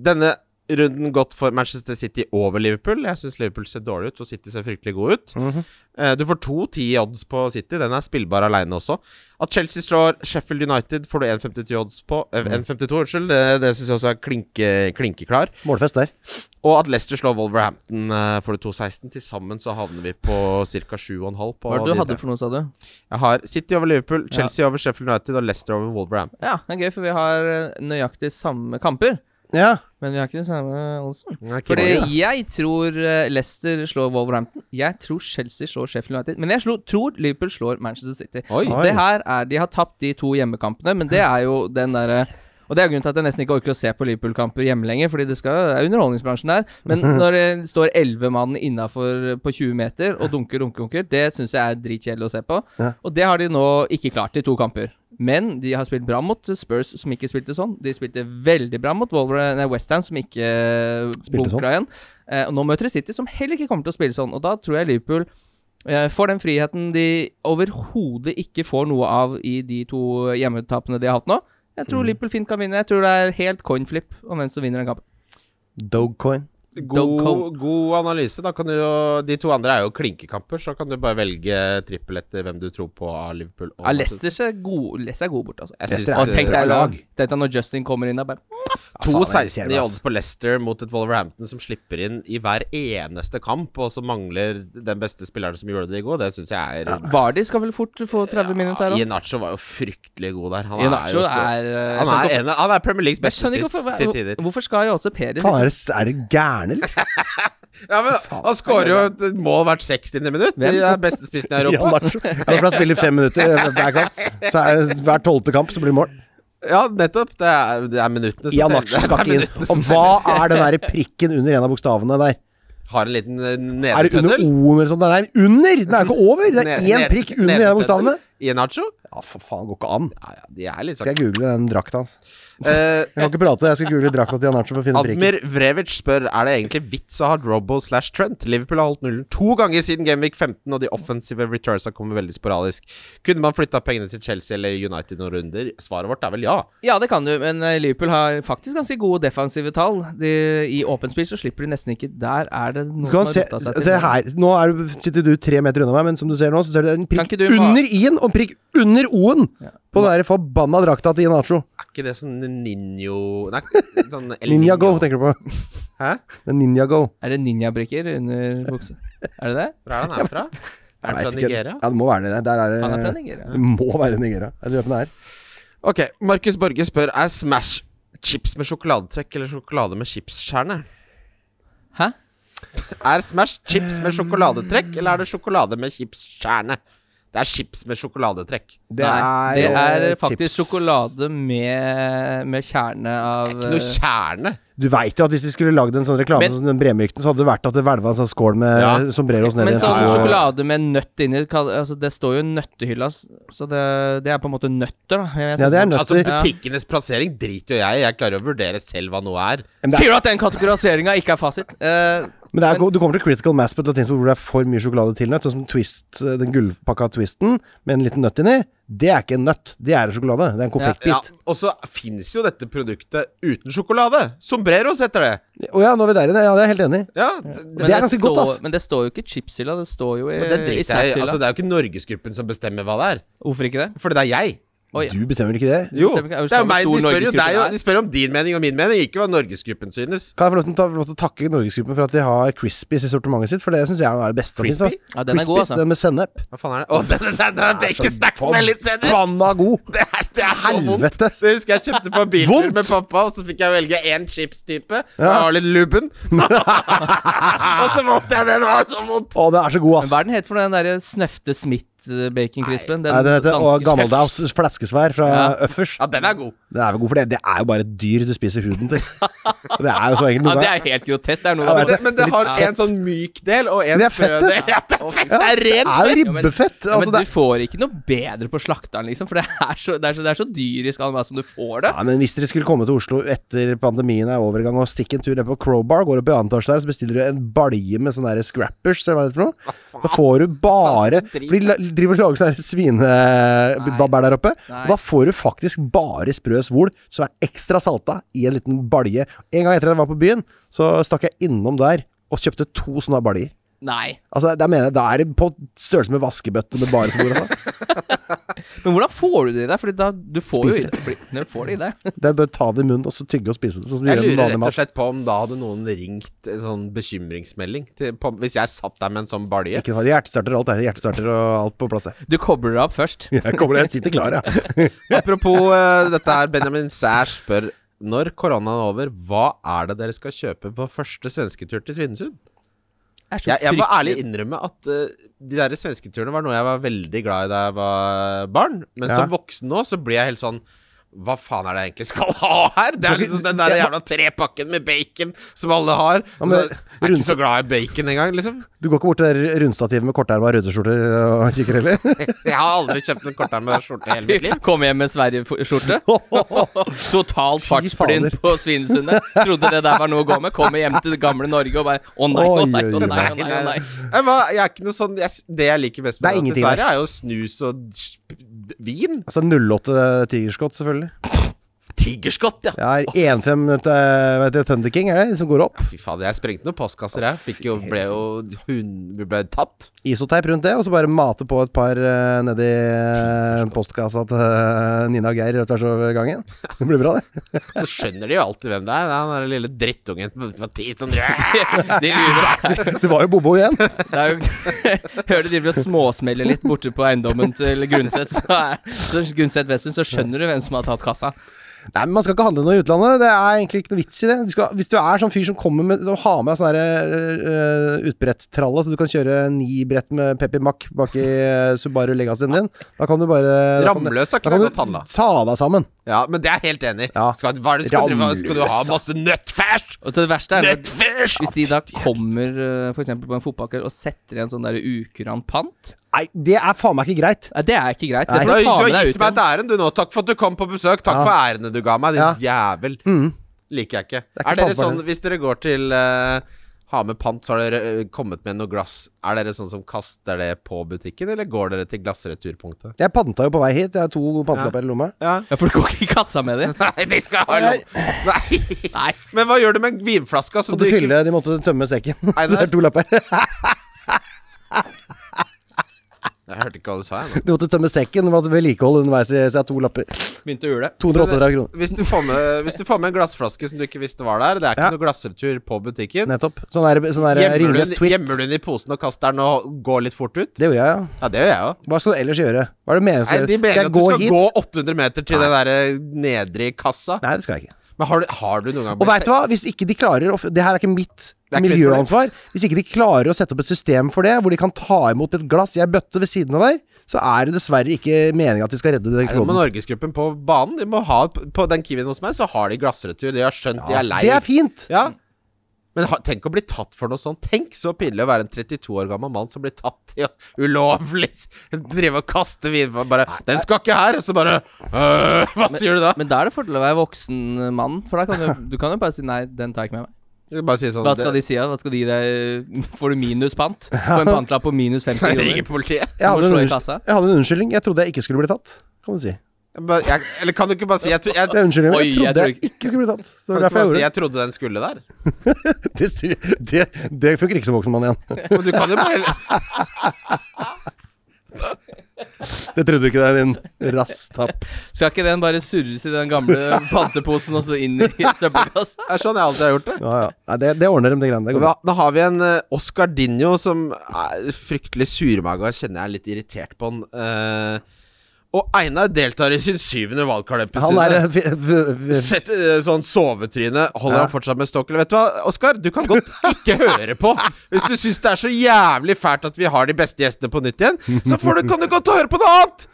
D: denne runden gått for Manchester City over Liverpool. Jeg syns Liverpool ser dårlig ut, og City ser fryktelig gode ut.
B: Mhm.
D: Eh, du får to ti odds på City. Den er spillbar aleine også. At Chelsea slår Sheffield United, får du 1,52 odds på. eh,
B: Mm.
D: 1,52, unnskyld. Det, det syns jeg også er klinke, klinkeklar.
C: Målfest der.
D: Og at Leicester slår Wolverhampton, eh, får du 2,16. Til sammen så havner vi på ca. 7,5 på
B: Hva var det
D: de
B: du
D: tre.
B: hadde for noe, sa du?
D: Jeg har City over Liverpool, Chelsea over Sheffield United og Leicester over Wolverhampton.
B: Ja, det er gøy, for vi har uh, nøyaktig samme kamper.
C: Ja.
B: Men vi har ikke de samme eh, oddsen.
D: Mm,
B: Fordi
D: Fordi-
B: jeg tror eh, Leicester slår Wolverhampton. Jeg tror Chelsea slår Sheffield United. Men jeg slo, tror Liverpool slår Manchester City.
D: Oi.
B: Det her er, De har tapt de to hjemmekampene, men det er jo den derre og Det er grunnen til at jeg nesten ikke orker å se på Liverpool-kamper hjemme lenger. Fordi det, skal, det er underholdningsbransjen der. Men når det står elleve mann innafor på 20 meter og dunker, dunker, dunker, det syns jeg er dritkjedelig å se på.
C: Ja.
B: Og det har de nå ikke klart i to kamper. Men de har spilt bra mot Spurs, som ikke spilte sånn. De spilte veldig bra mot Wolver- nei, West Ham, som ikke
C: Spilte sånn.
B: bunkra igjen. Eh, og nå møter de City, som heller ikke kommer til å spille sånn. Og da tror jeg Liverpool eh, får den friheten de overhodet ikke får noe av i de to hjemmetapene de har hatt nå. Jeg
C: Mm.
B: tror Liverpool fint kan vinne. Jeg tror det er helt coin flip om hvem som vinner den kampen.
C: Dogecoin.
D: God,
B: Dogcom.
D: god analyse. Da kan du jo, de to andre er jo klinkekamper, så kan du bare velge trippel etter hvem du tror på av Liverpool. og
B: Ja, Leicester er gode, Leicester er gode borte, altså.
D: Jeg
C: Leicester
D: synes,
C: er
B: Og tenk
D: eh,
B: deg,
C: lag.
B: tenk deg når Justin kommer inn der, bare
C: Ja, faen,
D: 2-16
C: det
D: i
C: er
D: odds på Leicester mot et Wolverhampton som slipper inn i hver eneste kamp, og som mangler den beste spilleren som gjorde det i går. Det syns jeg er
B: Vardy skal vel fort få 30 minutter her òg.
D: Inacho var jo fryktelig god der. Han
B: Inacho
D: er jo så
B: er, eh, jeg
D: han
B: skjønner
D: er,
B: ikke
D: en, av- han er Premier Leagues
B: Jeg
D: beste
B: skjønner ikke
D: spiss
B: hvorfor,
D: til tider.
B: hvor- hvorfor skal jo også Perez
C: Faen,
B: liksom,
C: er det, er det gærne, eller?
D: Ja, men Han skårer jo et mål hvert 60. minutt. De er beste spissen i
C: Ja,
D: Europa.
C: Nacho. Ja, for han spiller fem minutter eh, hver kamp. Så er det hver tolvte kamp, så blir det mål.
D: Ja, nettopp. Det er, det er minuttene som
C: Ja,
D: teller.
C: Nacho
D: Det er
C: skal ikke
D: minuttene
C: inn.
D: som
C: Og hva er den der prikken under en av bokstavene der?
D: Har en liten eh,
C: Er det under
D: nedetøddel.
C: O-en eller sånt? Nei, under! Den er ikke over! Det
D: Ne-
C: er én
D: ned-
C: prikk under en av
D: nedetøddel
C: bokstavene.
D: I Nacho?
C: Ja, for faen, går ikke an.
D: Ja, ja, de er litt
C: Skal
D: sånn.
C: jeg google den drakta hans?
D: Eh,
C: Jeg kan ikke prate, jeg skal google drakta til Jan Arntzen for å finne prikken.
D: Admir Vrevic spør Er det egentlig vits å ha Robo slash Trent. Liverpool har holdt nullen to ganger siden Gameweek 15, og de offensive returns har kommet veldig sporadisk. Kunne man flytta pengene til Chelsea eller United noen runder? Svaret vårt er vel ja.
B: Ja, det kan du, men eh, Liverpool har faktisk ganske gode defensive tall. De, I åpent spill så slipper de nesten ikke Der er det noen
C: Skal han se,
B: som har rota seg til.
C: se her Nå er, du- sitter du tre meter unna meg, men som du ser nå, så ser du en prikk
B: Kan ikke du ma-
C: under i-en og en prikk under o-en på den der forbanna drakta til Nacho.
D: Er ikke det sånn ninjo Nei, sånn El
C: Ninja Go,
D: Niño.
C: tenker du på.
D: Hæ?
C: Den Ninja Go.
B: Er det ninjabrikker under buksa? Er det det?
D: Hvor er han her fra? Er han
C: Jeg vet
D: fra
C: ikke.
D: Nigeria?
C: Ja, det må være det. Der er det
B: Han er fra Nigeria.
C: Det må være Nigeria. Er det løpende her?
D: Ok, Markus Borge spør Er Smash chips med sjokoladetrekk eller sjokolade med chipskjerne?
B: Hæ?
D: Er Smash chips med sjokoladetrekk eller er det sjokolade med chipskjerne? Det er chips med sjokoladetrekk.
B: Det er, det er
C: eh,
B: faktisk
C: chips.
B: sjokolade med, med kjerne av eh,
D: Ikke noe kjerne.
C: Du veit jo at hvis de skulle lagd en sånn reklame
B: Men-
C: som den Bremykten, så hadde det vært at det hvelva en sånn skål med
D: Ja.
C: sombreros nedi
B: Men
C: en
B: sånn
C: sånn-
B: sjokolade med nøtt inni kall- altså Det står jo nøttehylla, s- så det, det er på en måte nøtter, da. Jeg
C: Ja,
B: synes
C: det er
B: sånn-
C: nøtter.
D: Altså
B: Ja.
D: Butikkenes plassering driter jo jeg i. Jeg klarer å vurdere selv hva noe er.
C: Men det er-
B: Sier du at den kategoriseringa ikke er fasit? Eh,
C: Men det er, du kommer til critical mass på et eller annet tidspunkt hvor det er for mye sjokolade til nøtt, sånn som Twist, eh, den gullpakka Twisten med en liten nøtt inni. Det er ikke en nøtt, det er en sjokolade. Det er en
D: Ja,
C: konfektbit.
D: og så fins jo dette produktet uten sjokolade. Sombreros heter det.
C: Å ja, nå er vi der igjen. Ja, det er jeg helt enig i.
D: Ja, det,
B: Men
C: det er ganske godt,
B: står,
C: ass.
B: Men det står jo ikke i chipshylla, det står jo i,
D: det
B: eh, i
D: driter jeg i.
B: snackshylla.
D: Altså, det er jo ikke Norgesgruppen som bestemmer hva det er.
B: Hvorfor ikke det?
D: For det er jeg.
B: Oi, ja.
C: Du bestemmer ikke det?
D: Jo,
B: Bestemmer
D: det
B: ikke-
D: er jo meg.
B: hvor
D: De
B: stor
D: spør jo deg,
B: Norgesgruppen
D: og de spør om din mening og min mening, ikke hva Norgesgruppen synes.
C: Kan jeg få lov til å ta- få lov til å takke Norgesgruppen for at de har Crispies i sortimentet sitt? For det syns jeg er det beste som finnes. da.
D: Crispy?
B: Ja, den er
C: Crispies,
B: god, altså.
C: Den med sennep.
D: Hva faen er det? Å, den, den, den, den baconsnacksen med litt sennep!
C: Banna god!
D: Det er, det er så vondt.
C: Helvete.
D: Det husker jeg kjøpte på biltur
C: Vondt.
D: med pappa, og så fikk jeg velge én chips-type. Jeg har litt lubben. og så måtte jeg den, det var så vondt!
C: Å, det er så god,
B: Men
C: ass.
B: hva er den het for noe, den derre Snøfte Smith-baconcrispen?
C: Nei, den heter å,
B: danske-
C: Gammeldals flaskesvær fra
B: Ja.
C: Øffers.
D: Ja, den er god.
C: Det er vel god for det. Det er jo bare et dyr du spiser huden til. Det er jo så enkelt.
B: Ja,
C: noe
B: det
C: der.
B: er helt grotesk. Det er
C: Ja,
B: noe
D: Men
B: av
D: det,
B: det.
C: vet
D: men
C: Det
D: det
C: er litt
D: har en
C: fett.
D: sånn myk del og en
C: Det er
D: sprø
C: fett,
D: del.
C: det.
D: Ja, det er fett! Det er
C: Det er
D: rent fett!
B: men-
C: jo ribbefett.
B: Ja, men
C: Altså, det
B: du får ikke noe bedre på slakteren, liksom. For det er så, det er så, det er så dyrisk av meg som du får det.
C: Ja, men hvis dere skulle komme til Oslo etter pandemien er over en gang og stikke en tur ned på Crowbar, går opp i annen etasje der, så bestiller du en balje med sånne der scrappers, eller hva det er for noe. Da får du bare
D: Ah, Faen,
C: For
D: drit.
C: de la- driver og lager sånne her svinebabber der oppe.
B: Nei.
C: Og da får du faktisk bare sprø svol som er ekstra salta i en liten balje. En gang etter at jeg var på byen, så stakk jeg innom der og kjøpte to sånne baljer.
B: Nei.
C: Altså, da mener jeg, da er det på størrelse med vaskebøtte med bare svor. Altså.
B: Men hvordan får du det i deg? Fordi da, du får
C: Spiser.
B: jo i deg- du får det i deg.
C: Det er bare å ta det i munnen og så tygge og spise det. Sånn som du
D: Jeg
C: gjør med
D: lurer
C: vanlig
D: rett og
C: mat.
D: slett på om da hadde noen ringt en sånn bekymringsmelding til, på, hvis jeg satt der med en sånn balje.
C: Ikke noe hjertestarter, alt er hjertestarter og alt på plass. det.
B: Du kobler deg opp først.
C: Jeg kommer jeg sitter klar, jeg.
D: Apropos eh, dette her, Benjamin Sæsj spør når koronaen er over, hva er det dere skal kjøpe på første svensketur til Svinesund?
B: Det er så
D: Jeg, jeg må
B: fryktelig-
D: ærlig innrømme at eh, de der svensketurene var noe jeg var veldig glad i da jeg var barn. Men
C: Ja.
D: som voksen nå så blir jeg helt sånn Hva faen er det jeg egentlig skal ha her? Det
C: Skal
D: er
C: ikke-
D: liksom den der
C: jeg-
D: jævla trepakken med bacon som alle har.
C: Ja, men-
D: så, jeg er
C: Rundse-
D: ikke så glad i bacon engang, liksom.
C: Du går ikke bort til det rundstativet med korterma rødeskjorter og kikker heller?
D: Jeg har aldri kjøpt en kortermet skjorte i hele mitt liv.
B: Kom hjem med Sverige-skjorte. Totalt fartsblind
C: fader.
B: på Svinesundet. Trodde det der var noe å gå med. Kommer hjem til det gamle Norge og bare Å nei, å nei, å nei, å nei. Å nei, å nei.
D: Jeg, var, jeg er ikke noe sånn jeg, s- Det jeg liker best
C: Det er
D: med det
C: ingenting
D: dessverre, er jo snus og sp- d- vin.
C: Altså 08 tigerskott, selvfølgelig.
D: Tigerskott, ja.
C: Det er 15 til vet du, Thunder King, er det? Som går opp.
D: Fy fader, jeg sprengte noen postkasser, jeg. Fikk jo, ble jo hun ble tatt.
C: Isoteip rundt det, og så bare mate på et par eh, nedi eh, postkassa til eh, Nina og Geir rett tvers over gangen. Det blir bra, det.
D: Så skjønner de jo alltid hvem det er. Det er han der lille drittungen på- på tid som Det
B: De lurer.
C: Det var jo Bobo igjen.
B: Det er jo Hører de driver og småsmeller litt borte på eiendommen til Grundset, så, er- så Grundset Western, så skjønner du hvem som har tatt kassa.
C: Nei, men Man skal ikke handle noe i utlandet. Det er egentlig ikke noe vits i det. Du skal, hvis du er sånn fyr som kommer med og har med sånn uh, utbretttralle, så du kan kjøre ni brett med Peppi Mack bak i eh, Subaru Legacyen din, da kan du bare da kan du-
D: Ramløs har ikke
C: da kan
D: det godt
C: du
D: handla.
C: Ta deg sammen.
D: Ja, men det er jeg helt enig i.
C: Ja.
D: Skal, hva er det skal, du- hva- skal du ha
C: Ramløs,
D: masse nøttfæsj?
B: Og til det verste er at
D: Nøttfæsj!
B: hvis de da kommer f.eks. på en fotballkamp og setter igjen sånn der ukurant pant
C: Nei, det er faen meg ikke greit.
B: Nei, Det er ikke greit. Det
D: Du
B: får
D: har,
B: du ta
D: du
B: med
D: har
B: deg
D: gitt
B: ut
D: meg
B: igjen.
D: et ærend, du nå. Takk for at du kom på besøk. Takk
C: Ja.
D: for ærendene du ga meg, din jævel. Liker jeg ikke.
C: er
D: Er,
C: ikke
D: dere
C: pantbart,
D: sånn, hvis dere går til eh, ha med pant, så har dere eh, kommet med noe glass. Er dere sånn som kaster det på butikken, eller går dere til glassreturpunktet?
C: Jeg panta jo på vei hit. Jeg har to pantelapper i lomma.
D: Ja.
B: Ja, For du går ikke i kassa med dem?
D: Nei, vi skal ha lov. Nei.
B: Nei.
D: Men hva gjør du med vinflaska som
C: Måtte
D: du ikke
C: fylle, de måtte tømme sekken.
D: Nei,
C: Så det
D: nei.
C: er to lapper.
D: Jeg hørte ikke hva du sa, jeg. nå.
C: De måtte tømme sekken, de måtte vedlikeholde underveis i så jeg har to lapper.
B: Begynte å ule.
C: 238 kroner.
D: Hvis du, får med, hvis du får med en glassflaske som du ikke visste var der Det er ikke
C: Ja.
D: noe glassretur på butikken.
C: Nettopp. Sånn er sånn er
D: Gjemmer du,
C: Ringenes
D: den,
C: twist.
D: gjemmer du den i posen og kaster den og går litt fort ut?
C: Det gjorde jeg, ja.
D: Ja, det gjør jeg òg.
C: Hva skal du ellers gjøre? Hva er det meningen
D: De
C: Skal
D: mener
C: Altså, jeg
D: at du
C: gå
D: skal
C: hit?
D: gå 800 meter til den der eh, nedre i kassa.
C: Nei, det skal jeg ikke.
D: Men har du, har du noen gang
C: Og veit du hva, hvis ikke de klarer å f- Det her er ikke mitt
D: Det er ikke mitt
C: miljøansvar. Hvis ikke de klarer å sette opp et system for det, hvor de kan ta imot et glass i ei bøtte ved siden av der, så er det dessverre ikke meninga at vi skal redde den
D: Nei, Nå må
C: kloden.
D: Norgesgruppen på banen. De må ha, på den Kiwien hos meg så har de glassretur. De har skjønt de er lei.
C: Det er fint!
D: Ja. Men ha, tenk å bli tatt for noe sånt. Tenk så pinlig å være en 32 år gammel mann som blir tatt i å ulovlig s- drive og kaste vin Bare 'Den skal ikke her!' Og så bare øh, Hva sier du da?
B: Men da er det fordel å være voksen mann, for da kan du, du kan jo bare si nei, den tar jeg ikke med meg.
D: Jeg Bare si sånn
B: Hva skal de si? da? Hva skal de gi deg? Får du minuspant på en pantlapp på minus 50
D: Ringer
B: kroner?
D: politiet?
C: Jeg
B: må
C: hadde, en
B: slå i
C: unnskyld-
B: kassa.
C: jeg hadde en unnskyldning. Jeg trodde jeg ikke skulle bli tatt, kan du si.
D: Jeg bare- jeg- Eller kan du ikke bare si Jeg, tro- jeg,
C: Det er unnskyldningen.
B: Oi,
C: Jeg
B: jeg
C: trodde
B: tror
C: jeg
B: ikke-
C: ikke skulle bli tatt. Det
D: kan
C: var
D: du ikke
C: derfor jeg
D: bare si
C: gjorde det.
D: jeg trodde den skulle der?
C: Det, styr- det, det funker ikke som voksen mann igjen.
D: Men du kan jo bare
C: Det trodde du ikke deg, din rasstapp.
B: Skal ikke den bare surres i den gamle panteposen og så inn i søppelkassa?
D: Det er sånn jeg alltid har gjort det.
C: Ja, ja. Nei, det, det ordner de, de greiene. Det går bra.
D: Da, da har vi en eh, Oscar Dinho som er fryktelig surmaga. Jeg kjenner jeg er litt irritert på han. Eh, og Einar deltar i sin syvende
C: Han er
D: valgkamp.
C: eh, f- f- f-
D: Sett eh, sånn sovetryne. Holder
C: Ja.
D: han fortsatt med stokkel? Vet du hva, Oskar? Du kan godt ikke høre på. Hvis du syns det er så jævlig fælt at vi har de beste gjestene på nytt igjen, så får du, kan du godt høre på noe annet!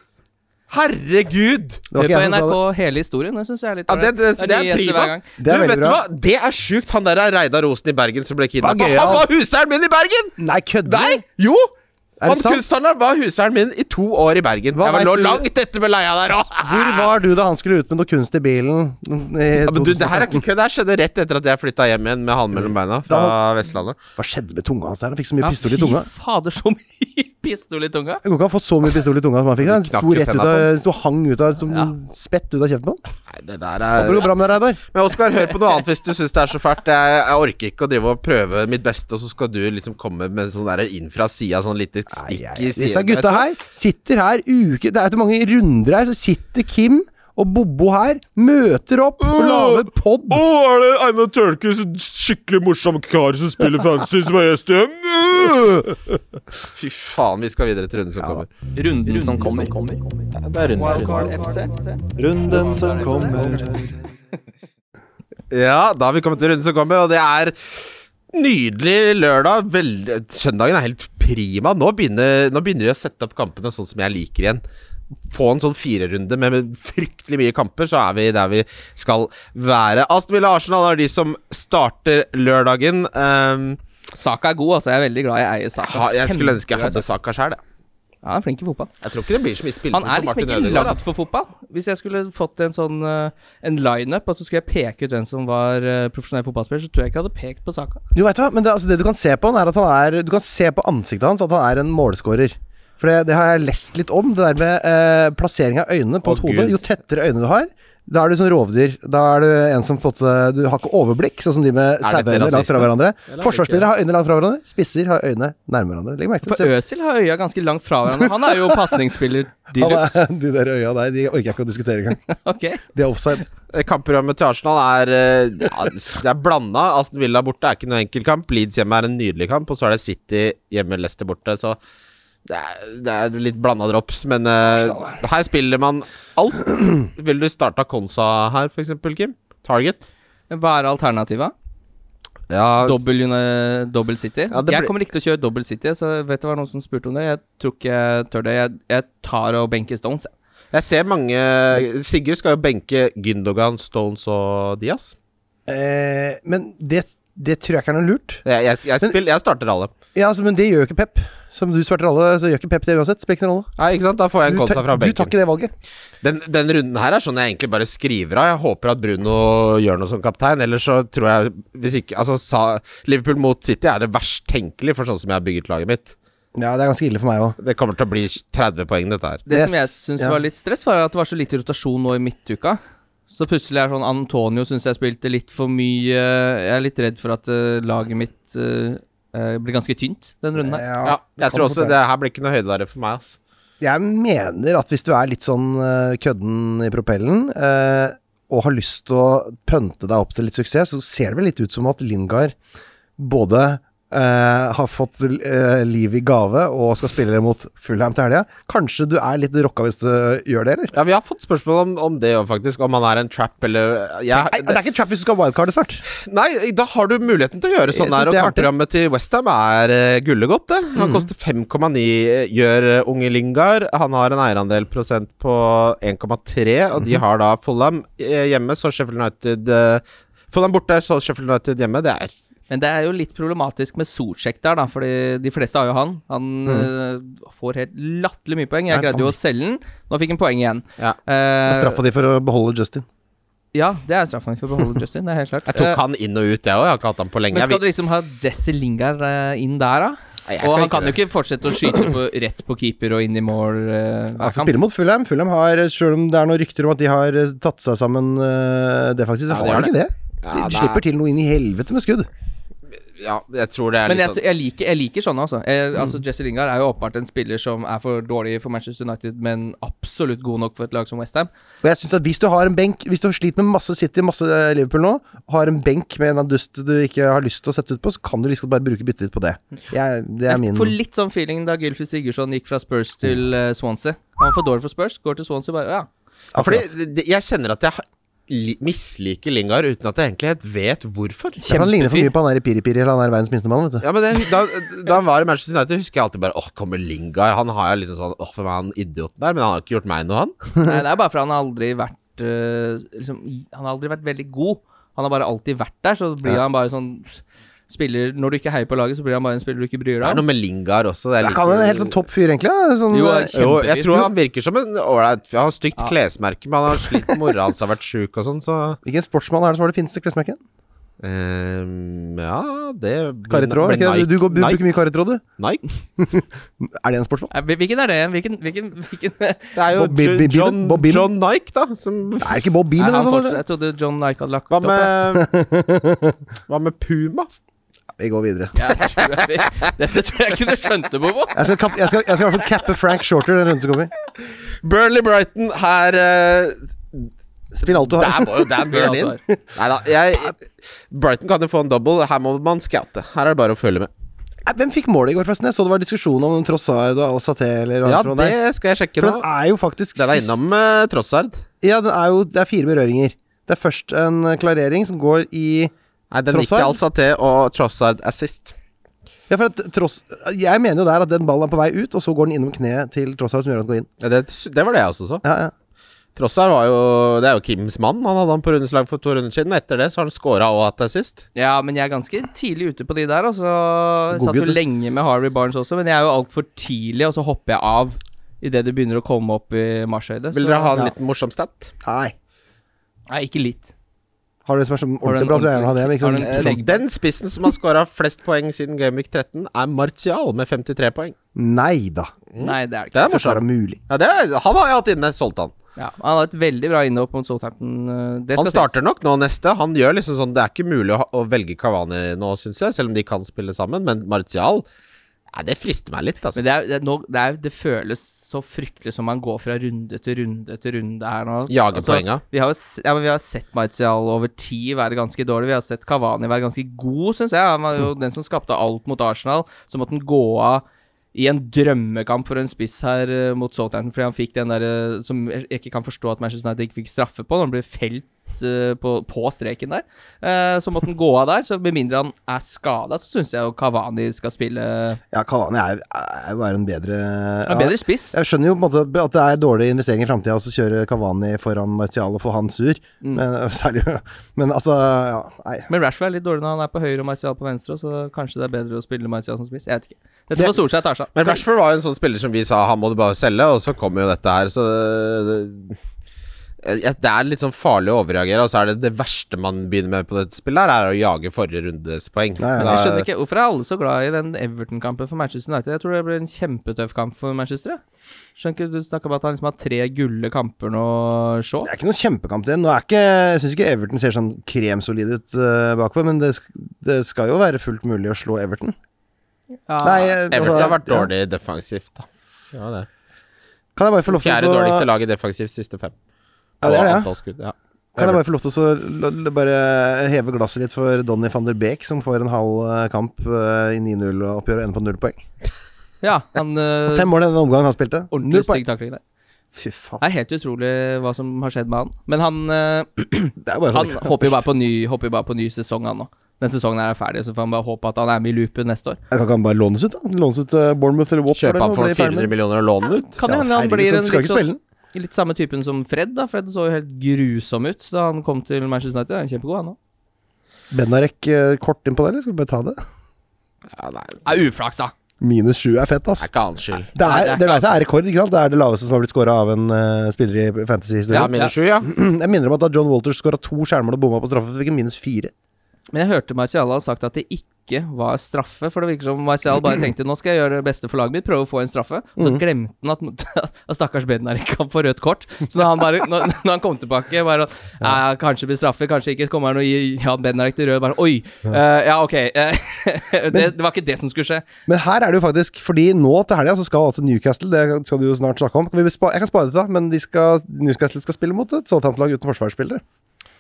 D: Herregud!
C: Det
B: Hør
C: var ikke
B: på
C: jeg som sa
B: NRK
C: det.
B: hele historien. Det syns jeg er litt
D: Ja, det, det, det,
B: ålreit. nye
D: er
B: gjester
D: prima.
B: hver gang.
C: Det er
D: du,
C: veldig
D: vet du
C: bra.
D: hva? Det er sjukt. Han der er Reidar Osen i Bergen som ble
C: Hva
D: kidnappa.
C: gøyal.
D: Han var huseieren min i Bergen!
C: Nei, kødder
D: Nei!
C: du?
D: Jo!
C: Er det
D: Han
C: sant?
D: kunsthandleren var huseieren min i to år i Bergen.
C: Hva
D: jeg var
C: vet
D: lå
C: du-
D: langt etter med leia der òg.
C: Hvor var du da han skulle ut med noe kunst i bilen? i
D: Ja, men du, det her er
C: 2013?
D: ikke kødd. Det her skjedde rett etter at jeg flytta hjem igjen med halen mellom beina fra
C: Da-
D: Vestlandet.
C: Hva skjedde med tunga hans der? Han fikk så mye
B: Ja,
C: pistol i tunga.
B: Fy fader, så mye pistol i tunga.
C: Det går ikke an å få så mye pistol i tunga som han fikk. Den
D: knakk
C: sto
D: jo
C: rett ut
D: tenna
C: av,
D: på
C: sto hang ut av, som
B: Ja.
C: spett ut av kjeften på han.
D: Nei, det der
C: Det går
D: er
C: bra med deg, Reidar.
D: Men Oskar, hør på noe annet hvis du syns det er så fælt. Jeg, jeg orker ikke å drive og prøve mitt beste, og så skal du liksom komme med sånn der inn fra sida, sånn lite
C: Nei,
D: stikk
C: jeg-
D: i siden.
C: Disse
D: Vet du
C: gutta
D: hva?
C: her sitter her uke Det er ikke mange runder her, så sitter Kim og Bobo her, møter opp og lager pod.
D: Å, er det Einar Tørnquist, en skikkelig morsom kar som spiller fancy, som er gjest igjen? Fy faen, vi skal videre til runden som kommer.
B: Runden som kommer.
D: Det er
A: Wildcard FC.
E: Runden som kommer.
D: Ja, da har vi kommet til runden som kommer, og det er Nydelig lørdag. Vel, søndagen er helt prima. Nå begynner, nå begynner de å sette opp kampene sånn som jeg liker igjen. Få en sånn firerunde med, med fryktelig mye kamper, så er vi der vi skal være. Aston Villa Arsenal er de som starter lørdagen. Um,
B: Saka er god, altså. Jeg er veldig glad jeg eier Saka.
D: ha, jeg skulle
B: Kjempe-
D: ønske jeg hadde saka sjøl, jeg.
B: Ja, han er flink i fotball.
D: Jeg tror ikke det blir så mye spilletid
B: Han er
D: på
B: liksom
D: Martin
B: ikke
D: Ødegaard.
B: lagd
D: Altså.
B: for fotball. Hvis jeg skulle fått en sånn eh, En lineup, og så skulle jeg peke ut hvem som var eh, profesjonell fotballspiller, så tror jeg ikke jeg hadde pekt på Saka.
C: Jo, vet du hva, men det, altså, det du kan se på han, er at han er Du kan se på ansiktet hans at han er en målskårer. For det, det har jeg lest litt om, det der med eh, plassering av øynene på
D: Å,
C: et hode.
D: Gud.
C: Jo tettere øyne du har, da er du sånn rovdyr. Da er du en som på en måte Du har ikke overblikk, sånn som de med
D: Er dette
C: saueøyne langt fra
D: rasisme?
C: hverandre.
D: det
C: Forsvarsspillere har øynene langt fra hverandre. Spisser har øynene nærme hverandre. Legg merke
B: For
C: til det.
B: Øsil har øya ganske langt fra hverandre. Han er jo pasningsspiller de
C: Han
B: luxe.
C: er, de der øya der, de orker jeg ikke å diskutere engang.
B: Ok.
C: De er offside.
D: Kampprogrammet til Arsenal er eh, ja, Det er blanda. Aston Villa borte er ikke noen enkel kamp. Leeds hjemme er en nydelig kamp, og så er det City hjemme Leicester borte, så det er, det er litt blanda drops, men eh, her spiller man alt. Vil du starte Konsa her, for eksempel, Kim? Target?
B: Hva er alternativet?
D: Ja,
B: Dobbel, eh, dobbel City?
D: Ja, det
B: Jeg
D: blir-
B: kommer ikke til å kjøre dobbel City, så vet du hva noen som spurte om det? Jeg tror ikke jeg tør det. Jeg, jeg tar og benker Stones. jeg.
D: jeg ser mange Sigurd skal jo benke Gündogan, Stones og Diaz.
C: Eh, men det, det tror jeg ikke er noe lurt.
D: Jeg, jeg, jeg,
C: Men-
D: spill, jeg starter alle.
C: Ja, altså, Men det gjør jo ikke Pep. Som du svarte alle, så gjør ikke Pep det uansett. Spiller ikke noen rolle.
D: Nei, ikke sant? Da får jeg en
C: Du,
D: Konsa
C: tar-
D: fra
C: du tar
D: benken.
C: ikke det valget.
D: Den, den runden her er sånn jeg egentlig bare skriver av. Jeg håper at Bruno gjør noe som kaptein. Ellers så tror jeg hvis ikke, altså, sa, Liverpool mot City er det verst tenkelig for sånn som jeg har bygget laget mitt.
C: Ja, det er ganske ille for meg òg.
D: Det kommer til å bli 30 poeng, dette her.
B: Det
C: Jeg
B: som jeg
C: s-
B: syns
C: ja.
B: var litt stress, var at det var så lite rotasjon nå i midtuka. Så plutselig er sånn Antonio syns jeg spilte litt for mye Jeg er litt redd for at eh, laget mitt eh, eh, blir ganske tynt den runden her.
D: Ja, jeg tror også det her blir ikke noe høydere for meg. Altså.
C: Jeg mener at hvis du er litt sånn eh, kødden i propellen, eh, og har lyst til å pønte deg opp til litt suksess, så ser det vel litt ut som at Lingard både eh, har fått eh, liv i gave og skal spille mot Fulham til helga. Kanskje du er litt rocka hvis du eh, gjør det, eller?
D: Ja, Vi har fått spørsmål om, om det òg, faktisk. Om han er en trap eller
C: Nei, altså,
D: jeg,
C: det er ikke trap hvis du skal ha wildcard snart.
D: Nei, da har du muligheten til å gjøre sånn
C: Jeg synes
D: her. Og
C: det er artig.
D: kampprogrammet til Westham er uh, gullegodt, det.
B: Mm.
D: Han koster 5,9, eh, gjør eh, unge Lingard. Han har en eierandel prosent på 1,3, og
B: Mhm.
D: de har da Fulham eh, hjemme, så Sheffield United eh, Fulham borte, så Sheffield United hjemme. Det er
B: Men det er jo litt problematisk med Solsjekk der, da, fordi de fleste har jo han. Han
D: Mm.
B: eh, får helt latterlig mye poeng. Jeg
C: Nei,
B: greide jo å selge den. Nå fikk han poeng igjen.
D: Ja.
B: Eh,
C: Straffa de for å beholde Justin.
B: Ja, det er straffen for å beholde Justin. Det er helt klart.
D: Jeg tok
B: Eh,
D: han inn og ut, jeg òg. Jeg har ikke hatt han på lenge.
B: Men skal
D: Jeg
B: du
D: vil-
B: liksom ha Jesse Lingard eh, inn der, da?
D: Nei, jeg
B: Og
D: skal
B: han
D: ikke
B: kan jo
D: det.
B: ikke fortsette å skyte på, rett på keeper og inn i mål. eh, hver
C: Han skal
B: kamp.
C: spille mot Fulham. Fulham har, selv om det er noen rykter om at de har eh, tatt seg sammen eh, defensivt, så
D: Ja, de
C: har
D: har
C: de ikke det.
D: Ja,
C: De
D: det er-
C: slipper til noe inn i helvete med skudd.
D: Ja, jeg tror det er
B: Men
D: litt
B: jeg,
D: sånn Mm.
B: jeg, liker, jeg liker sånne, altså. Jeg, altså Jesse Lingard er jo åpenbart en spiller som er for dårlig for Manchester United, men absolutt god nok for et lag som Westham.
C: Og jeg synes at Hvis du har en benk Hvis du sliter med masse City, masse eh, Liverpool nå, har en benk med en av dust du ikke har lyst til å sette ut på, så kan du liksom bare bruke byttet ditt på det. Jeg, det er min
B: Får litt sånn feeling da Gylfi Sigurdsson gikk fra Spurs til eh, Swansea. Han var for dårlig for Spurs, går til Swansea bare Ja.
D: ja, Fordi det- jeg kjenner at jeg ha- li- misliker Lingard uten at jeg egentlig helt vet hvorfor.
C: Ja, Han ligner for
B: kjempefyr.
C: mye på han der Piripiri, eller han der verdens minste mann, vet du.
D: Ja, men det, da, da han var i Manchester United, husker jeg alltid bare Åh, kommer Lingard? Han har jeg liksom sånn Åh, hvem er han idioten der? Men han har ikke gjort meg noe, han.
B: Nei, det er bare fordi han har aldri vært eh, liksom, i- Han har aldri vært veldig god. Han har bare alltid vært der, så blir han bare sånn Spiller Når du ikke heier på laget, så blir han bare en spiller du ikke bryr
D: Det er
B: deg
D: noe
B: om.
D: med Lingard også. Det er
C: Er
D: litt-
C: ikke han en helt sånn topp fyr, egentlig? da? Sånn,
B: Jo,
C: eh,
B: jeg-
D: jo,
B: Kjempefyr.
D: jeg tror han virker som en ålreit Han har stygt klesmerke, men han har slitt mora hans har vært sjuk og sånn, så
C: Hvilken sportsmann er det som har det fineste klesmerket?
D: ehm, Ja, det
C: Karitråd? er ikke det? Du, du, går- du bruker
D: Nike,
C: mye karitråd, du.
D: Nike.
C: Er det en sportsmann?
B: Nei, hvil- Hvilken er det? Hvilken, hvilken, hvilken
D: Det er jo
C: Bob Bi-
D: Jo-
C: Bi- Bi-
D: John,
C: Bob Bi-
D: John Nike, da. Som
C: Er det ikke Bob
B: Nei,
C: Beam eller
B: han
C: noe
B: fortsatt-
C: sånt?
B: Jeg trodde John Nike hadde lagt
D: Hva
B: opp. jeg.
D: med Hva med Puma?
C: eller? Vi går videre.
B: Jeg tror jeg- Dette tror jeg kunne skjønte, Bobo.
C: Jeg skal, kap, jeg skal, jeg skal i hvert fall cappe Frank Shorter den runden som kommer.
D: Burnley Brighton her eh,
C: Spill alt du har.
D: Der må jo Dan Burn inn. Nei da. Jeg, Brighton kan jo få en double. Her må man scoute. Her er det bare å følge med.
C: Nei, Hvem fikk målet i går, forresten? Jeg så det var diskusjon om Trossard og Al-Saté eller hva
D: Ja,
C: det var der.
D: det skal jeg sjekke
C: For
D: nå.
C: den er jo faktisk
D: Den er
C: sist
D: innom eh, Trossard.
C: Ja, den er jo Det er fire berøringer. Det er først en klarering som går i
D: Nei, den gikk altså
C: Trossard?
D: til Alsaté og Trossard assist.
C: Ja, for at tross Jeg mener jo der at den ballen er på vei ut, og så går den innom kneet til Trossard som gjør at den går inn.
D: Ja, det, det var det jeg også så.
C: Ja, ja.
D: Trossard var jo Det er jo Kims mann. Han hadde han på rundens lag for to runder siden. Etter det så har han scora og hatt assist.
B: Ja, men jeg er ganske tidlig ute på de der. Og så
C: God
B: satt jo
C: gutt, du.
B: lenge med Harvey Barnes også, men jeg er jo altfor tidlig, og så hopper jeg av idet det begynner å komme opp i marshøyde.
D: Vil dere ha en
C: Ja.
D: liten morsom stat?
C: Nei.
B: Nei, ikke litt.
C: Har du en som er som
B: Har du en
C: ordentlig bra, så vil jeg gjerne ha det. Men
B: Har du
C: ikke sånn,
B: en
C: litt
B: leg-
D: Den spissen som har scora flest poeng siden Gameweek 13, er Martial med 53 poeng.
C: sånn Nei da.
B: Nei, det er det
D: Det
B: ikke.
D: er
C: Så er det
D: morsomt.
C: mulig.
D: Mm. Ja, det er, han har jeg hatt inne. Solgte han.
B: Ja, han har et veldig bra innhopp mot Southampton. eh, Det skal
D: Han
B: sies.
D: starter nok nå neste. Han gjør liksom sånn Det er ikke mulig å, ha- å velge Kavani nå, syns jeg, selv om de kan spille sammen. Men Martial Nei, det frister meg litt, altså.
B: Men det, er, det, er, nå- det, er, det føles så fryktelig som man går fra runde til runde til runde her nå. Altså,
D: Jager poenga.
B: Vi har, jo s- ja, men vi har sett Martial over tid være ganske dårlig. Vi har sett Kavani være ganske god, syns jeg. Han var jo
D: Mm.
B: den som skapte alt mot Arsenal. Så måtte han gå av i en drømmekamp for en spiss her eh, mot Southampton, fordi han fikk den der eh, som jeg ikke kan forstå at Manchester United ikke fikk straffe på, når han ble felt eh, på, på streken der. Eh, Så måtte han gå av der. Så med mindre han er skada, så syns jeg jo Kavani skal spille
C: Ja, Kavani er er jo bare en bedre
B: Han er
C: ja.
B: bedre spiss.
C: Jeg skjønner jo på en måte at det er dårlig investering i framtida å kjøre Kavani foran Martial og få han sur,
D: Mm.
C: men, særlig, men altså ja, Nei.
B: Men Rashford er litt dårlig når han er på høyre og Martial på venstre, så kanskje det er bedre å spille Martial som spiss. Jeg vet ikke. Dette
C: Det-
B: får Solskjær ta seg av.
D: Men Rashford var jo en sånn spiller som vi sa han må du bare selge, og så kommer jo dette her, så det, det det er litt sånn farlig å overreagere. Og så er det det verste man begynner med på dette spillet, her, er å jage forrige rundes poeng.
C: Nei,
B: Men Jeg skjønner ikke, Hvorfor er alle så glad i den Everton-kampen for Manchester United? Jeg tror det blir en kjempetøff kamp for Manchester. jeg. Skjønner ikke, Du snakker om at han liksom har tre gulle kamper nå, Shaw.
C: Det er ikke noen kjempekamp til. Nå er ikke, jeg syns ikke Everton ser sånn kremsolid ut eh, bakover, men det, sk- det skal jo være fullt mulig å slå Everton.
B: Ja,
C: Nei, eh,
D: Everton har
C: altså,
D: vært dårlig defensivt, da. Ja, det.
C: Ja. Kan jeg bare få lov til
D: Fjerde
C: å
D: dårligste laget defensivt siste fem.
C: Ja, det er det, ja.
D: Og antall skudd, ja.
C: Kan jeg bare få lov til å så la- la- bare heve glasset litt for Donny van der Beek, som får en halv eh, kamp eh, i 9-0-oppgjør og ender på null poeng.
B: ja han
D: Eh,
B: øh,
C: Fem mål i den omgangen han spilte.
B: Ordentlig
C: Null
B: stygg
C: poeng.
B: takling der.
C: Fy faen.
B: Det er helt utrolig hva som har skjedd med han. Men han, øh,
C: Det er jo bare sånn
B: han
C: ikke kan
B: håper jo
C: spille.
B: bare på ny, håper jo bare på ny sesong, han nå. Den sesongen her er ferdig, så får han bare håpe at han er med i loopen neste år.
C: Jeg kan ikke han bare lånes ut, da? Lånes ut til Bournemouth eller Watford?
D: Kjøpe han for 400 millioner og låne den ut?
B: Kan det hende han blir en
C: Skal
B: litt
C: ikke
B: sånn
C: spille den.
B: Litt samme typen som Fred, da. Fred så jo helt grusom ut da han kom til Manchester United. Han er kjempegod, han òg.
C: Benarek eh, kort inn på det, eller skal vi bare ta det?
D: Ja, nei.
B: Er uflaks, da.
C: Minus sju er fett, ass.
D: Det er ikke hans skyld.
C: Det
B: Nei, det
C: er,
B: er
C: dere vet det er rekord, ikke sant? Det er det laveste som har blitt skåra av en eh, spiller i
D: Ja,
C: fantasy-historien.
D: minus sju, ja.
C: Jeg minner om at da John Walters skåra to skjermer og bomma på straffe, fikk han minus fire.
B: Men jeg hørte Martial ha sagt at det ikke var straffe, for det virker som Martial bare tenkte nå skal jeg gjøre det beste for laget mitt, prøve å få en straffe. Og så glemte han at, at stakkars Bednarik kan få rødt kort. Så da han bare, når, når han kom tilbake, bare ja. Kanskje det blir straffe, kanskje ikke. Så kommer han og gir Jan Bednarik til rød. Bare oi! Ja, ja ok. eh, det, det var ikke det som skulle skje.
C: Men her er det jo faktisk Fordi nå til helga så skal altså Newcastle Det skal du jo snart snakke om. Kan vi spa jeg kan spare dette, da, men de skal, Newcastle skal spille mot et Southampton-lag uten forsvarsspillere.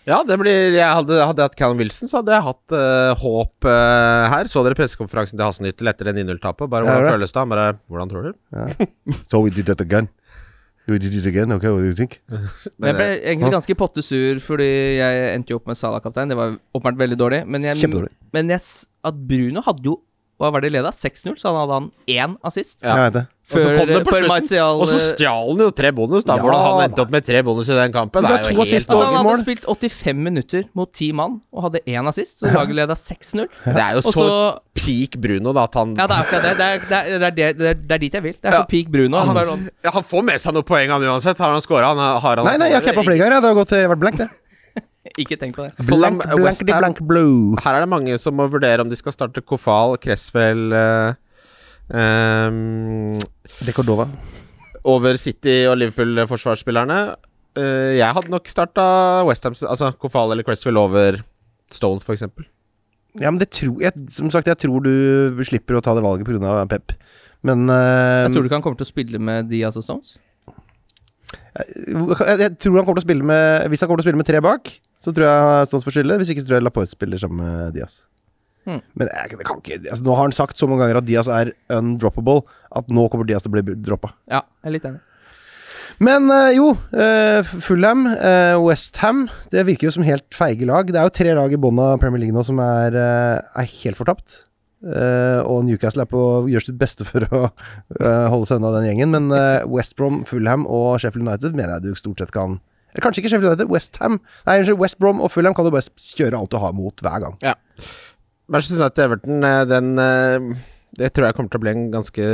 D: Ja, det blir jeg Hadde hadde jeg hatt Callum Wilson, så hadde jeg hatt eh, håp eh, her. Så dere pressekonferansen til Hasenhyttel etter det 9-0-tapet? Bare
C: Ja,
D: hvordan
C: det.
D: føles det? Han bare Hvordan tror du?
C: So we did that again. We did it again, okay, what do you think?
B: Men
D: eh,
B: jeg ble egentlig
D: Hm?
B: ganske pottesur fordi jeg endte jo opp med Salah-kaptein. Det var åpenbart veldig dårlig. Men, jeg,
C: Kjempedårlig.
B: men jeg, s- at Bruno hadde jo Hva var det leda? 6-0, så han hadde han én assist.
D: Ja.
C: Jeg vet det.
D: Og så
B: Før-
D: kom det på
B: før
D: slutten,
B: Martial,
D: Og så
B: eh,
D: stjal han jo tre bonus, da.
C: Ja,
D: Hvordan han
C: da.
D: endte opp med tre bonus i den
C: Det
D: kampen,
C: ble
D: det er
C: to
D: jo
C: assist
B: Altså,
D: helt
C: og-
B: han
C: Dagens
B: hadde
C: mål.
B: spilt 85 minutter mot 10 mann og hadde én assist. Så laget leda 6-0.
D: Det er jo
B: Og
D: så
B: så
D: peak Bruno, da, at han
B: Ja, det er akkurat det. Det er, det, er, det, er det, det, er, det er dit jeg vil. Det er så
D: Ja.
B: peak Bruno. Han, bare
D: han,
B: sånn-
D: ja, han får med seg noen poeng, han uansett. Har han scora? Han, har han
C: Nei, nei, jeg har cappa flere ganger. jeg. Det har gått, jeg har vært blank, det.
B: ikke tenk på det.
D: Fulham,
C: Blank, blank,
D: West
C: de
D: Ham.
C: blank, blue.
D: Her er det mange som må vurdere om de skal starte Kofal, Cresswell eh, ehm,
C: De Cordova.
D: over City og Liverpool-forsvarsspillerne. Eh, jeg hadde nok starta Westham, altså Kofal eller Cresswell over Stones, for eksempel
C: Ja, men det tror jeg Som sagt, jeg tror du slipper å ta det valget pga. Pep. Men eh,
D: Um,
B: Jeg tror du ikke han kommer til å spille med de altså Stones?
C: jeg, jeg tror han kommer til å spille med Hvis han kommer til å spille med tre bak, så tror jeg Stones får skylde. Hvis ikke så tror jeg Laporte spiller sammen med Diaz.
B: Hmm.
C: Men jeg, det kan ikke altså, Nå har han sagt så mange ganger at Diaz er undroppable, at nå kommer Diaz til å bli droppa.
B: Ja, jeg er litt enig.
C: Men eh, jo, eh, Fulham, eh, Westham Det virker jo som helt feige lag. Det er jo tre lag i bånn av Premier League nå som er, eh, er helt fortapt. Eh, og Newcastle er på gjør sitt beste for å eh, holde seg unna den gjengen. Men eh, West Brom, Fulham og Sheffield United mener jeg du stort sett kan Eller kanskje ikke Sheffield United, Westham. Nei, unnskyld, West Brom og Fulham kan du bare s- kjøre alt du har mot hver gang.
D: Manchester United-Everton, den eh, Det tror jeg kommer til å bli en ganske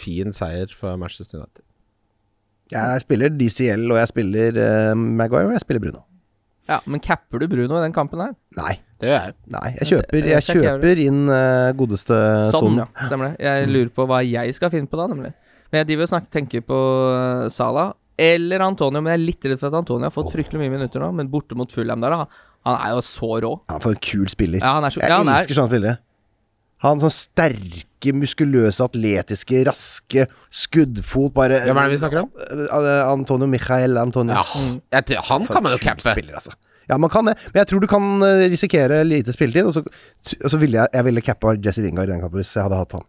D: fin seier for Manchester United.
C: Jeg spiller DCL, og jeg spiller eh, Maguire, og jeg spiller Bruno.
B: Ja, Men capper du Bruno i den kampen her?
C: Nei.
D: Det gjør jeg.
C: Nei, jeg
B: Det- det-
C: kjøper, jeg
B: det er ikke
C: kjøper inn eh, godeste
B: Sånn,
C: sonen.
B: ja. Stemmer det. Jeg lurer på hva jeg skal finne på da, nemlig. Men jeg driver og snakker, tenker på eh, Salah eller Antonio. Men jeg er litt redd for at Antonio har fått fryktelig mye minutter nå, men borte mot Fulham der, da. Han er jo så rå.
C: Ja, for en kul spiller.
B: Ja, han er så,
C: jeg
B: ja, han er,
C: elsker sånne spillere. Han sånn sterke, muskuløse, atletiske, raske, skuddfot bare
D: Hvem er det vi snakker om?
C: Eh, Antonio Michael Antonio.
D: Ja, jeg, tror- han
C: For
D: kan man
C: en
D: jo
C: kul
D: cappe.
C: Spiller, altså. Ja, man kan det, men jeg tror du kan eh, risikere lite spilletid. Og så, og så ville jeg, jeg ville cappa Jesse Lingard i den kampen hvis jeg hadde hatt han.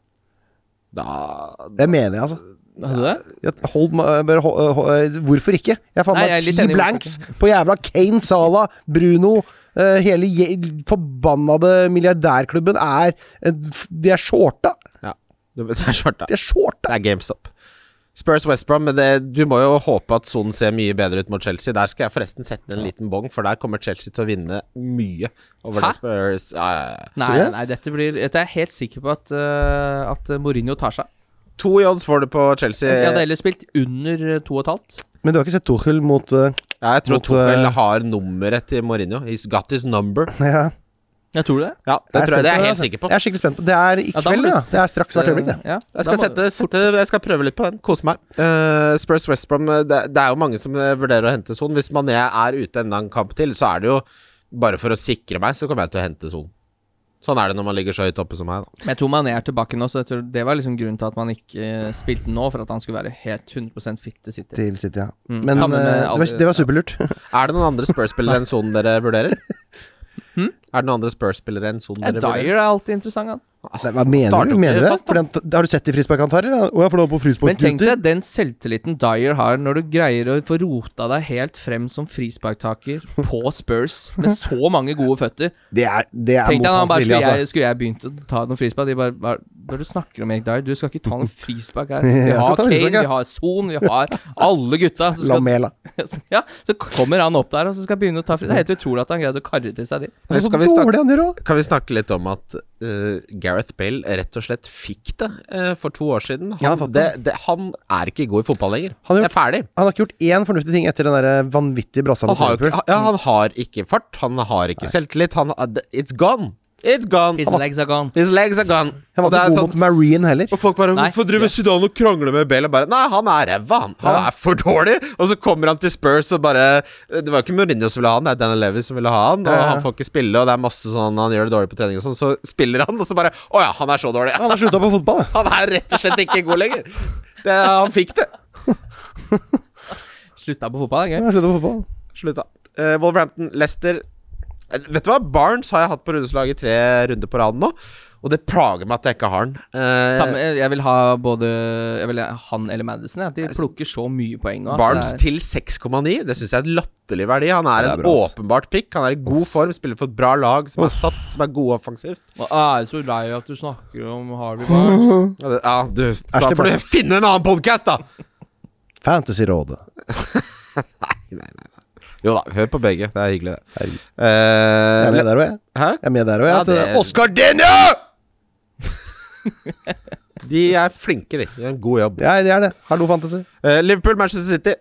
D: Da
C: Det mener jeg, altså.
B: Hadde du det?
C: Jeg- Hold, ma- bare hold, hold, eh, hvorfor ikke? Jeg fant
B: Nei, jeg
C: meg
B: er litt
C: ti
B: enig, hvorfor
C: blanks på jævla Kane, Salah, Bruno eh, Hele je- forbannede milliardærklubben er en f- De er shorta!
D: Ja. Det er svart, da.
C: De er shorta!
D: Det er GameStop. Spurs West Brom, men det, du må jo håpe at sonen ser mye bedre ut mot Chelsea. Der skal jeg forresten sette en liten bong, for der kommer Chelsea til å vinne mye over
B: Hæ?
D: det Spurs. Ja, ja, ja.
B: Nei,
C: Tror du?
B: nei, dette blir Dette er jeg helt sikker på at, eh, at Mourinho tar seg.
D: To i odds får du på
C: Eh.
D: Chelsea.
B: Jeg hadde
D: Ja,
B: heller spilt under eh, to og et halvt.
C: Men du har ikke sett Tuchel mot eh,
D: jeg tror
C: Mot,
D: Tuchel
C: eh,
D: har nummeret til Mourinho. He's got his number.
C: ja,
B: Jeg tror du det?
D: Ja, det,
C: jeg
D: tror jeg, det er
C: spent på
D: jeg
C: altså.
D: helt sikker på.
C: Jeg er skikkelig spent på Det er i
B: Ja, da må
C: kveld,
B: du
C: ja. Det er straks hvert øyeblikk, det.
B: Eh, ja,
D: Jeg
B: da
D: skal,
B: må-
D: sette, sette, jeg skal prøve litt på den. Kose meg. Eh, Spurs West Brom eh, det, det er jo mange som eh, vurderer å hente Son. Hvis Mané er ute enda en kamp til, så er det jo Bare for å sikre meg, så kommer jeg til å hente Son. Sånn er det når man ligger så høyt oppe som meg. Da.
B: Men jeg tror Mané er tilbake nå, så jeg tror det var liksom grunnen til at man ikke eh, spilte nå, for at han skulle være helt 100 fit til City.
C: Eh, Til City, ja.
B: Mm,
C: Men
B: sammen med
C: eh, det, var,
B: alle-
C: det var superlurt.
D: Er det noen andre Spurs-spillere enn Son dere vurderer? Er det noen andre Spurs-spillere enn Son
B: Ja,
D: dere vurderer?
B: Dyer er alltid interessant, han.
C: Nei, Hva mener
D: Starter
C: du?
D: ikke
C: Mener du det?
D: fast, da.
C: Fordi han- har du sett de frisparkene han tar? eller? Å, jeg får lov på
B: Men tenk
C: frisparkgutter.
B: deg den selvtilliten Dyer har når du greier å få rota deg helt frem som frisparktaker på Spurs med så mange gode føtter.
C: Det er, det er
B: Tenk
C: mot
B: deg han
C: hans
B: bare
C: vilje,
B: skulle
C: altså.
B: jeg, skulle jeg begynt å ta noen frispark, de bare, bare Når du snakker om Erik Dyer, du skal ikke ta noen frispark her. Vi
C: Jeg skal
B: har
C: ta
B: Kane,
C: frispark, ja.
B: vi har Son, vi har alle gutta. Så, skal,
C: Lamela.
B: ja, så kommer han opp der og så skal begynne å ta fri. Det er helt utrolig at han greide å karre til seg de.
C: Det er
D: Skal
C: så
D: vi snakke-
C: dårlig han gjør òg.
D: Kan vi snakke litt om at eh, Gareth Bale rett og slett fikk det eh, for to år siden?
C: Ja,
D: Han,
C: han fikk
D: det,
C: det.
D: det, han er ikke god i fotball lenger.
C: Han har
D: er ferdig.
C: Han har ikke gjort én fornuftig ting etter den der vanvittige brassa
D: Han
C: mot
D: har, jo
C: Liverpool.
D: ikke, ja, han har ikke fart, han har ikke selvtillit. Han, it's gone! It's gone!
B: His legs are gone.
D: His legs are gone.
C: Han
D: Og
C: var
D: det
C: ikke
D: er
C: god
D: sånn
C: mot Marine heller.
D: og folk bare
B: Nei.
D: 'Hvorfor driver Sudan og krangler med Bale?' Og bare 'Nei, han er ræva, han. Han er for dårlig.' Og så kommer han til Spurs og bare Det var jo ikke Mourinho som ville ha han, det er Daniel Levis som ville ha han. Og
C: Ja, ja.
D: han får ikke spille, og det er masse sånn han gjør det dårlig på trening og sånn. Så spiller han, og så bare 'Å ja, han er så dårlig'.
C: Han har slutta på fotball, da.
D: Han er rett og slett ikke god lenger. Det, han fikk det.
B: Slutta på fotball, det er
C: Han
B: gøy.
C: har sluttet på fotball.
D: Slutta. Eh, Wolverhampton, Leicester Eh, Vet du hva? Barnes har jeg hatt på rundeslaget i tre runder på rad nå. Og det plager meg at jeg ikke har den. Eh,
B: Samme, jeg vil ha både jeg vil ha han eller Madison. Jeg. De plukker så mye poeng. nå at
D: Barnes
B: det er-
D: til 6,9. Det syns jeg er en latterlig verdi. Han er,
C: Det er
D: en
C: bra, ass.
D: åpenbart pick. Han er i god form, spiller for et bra lag som er satt, som er gode offensivt.
B: Og ah, Jeg er så lei av at du snakker om Harvey Barnes.
D: Ja, det- ja, du, da
C: Ashley
D: får du
C: Barnes.
D: finne en annen podkast, da!
C: Fantasyrådet.
D: Jo da, hør på begge. Det er hyggelig, det.
C: Herregud. Jeg er med
D: Eh,
C: der òg, jeg.
D: hæ?
C: Jeg er med der også, jeg.
D: Ja,
C: At det
D: det-
C: er Oscar Denio!
D: De er flinke, de. De gjør en god jobb.
C: Ja, det er det. Hallo, Fantasy.
D: Eh, Liverpool, Manchester City.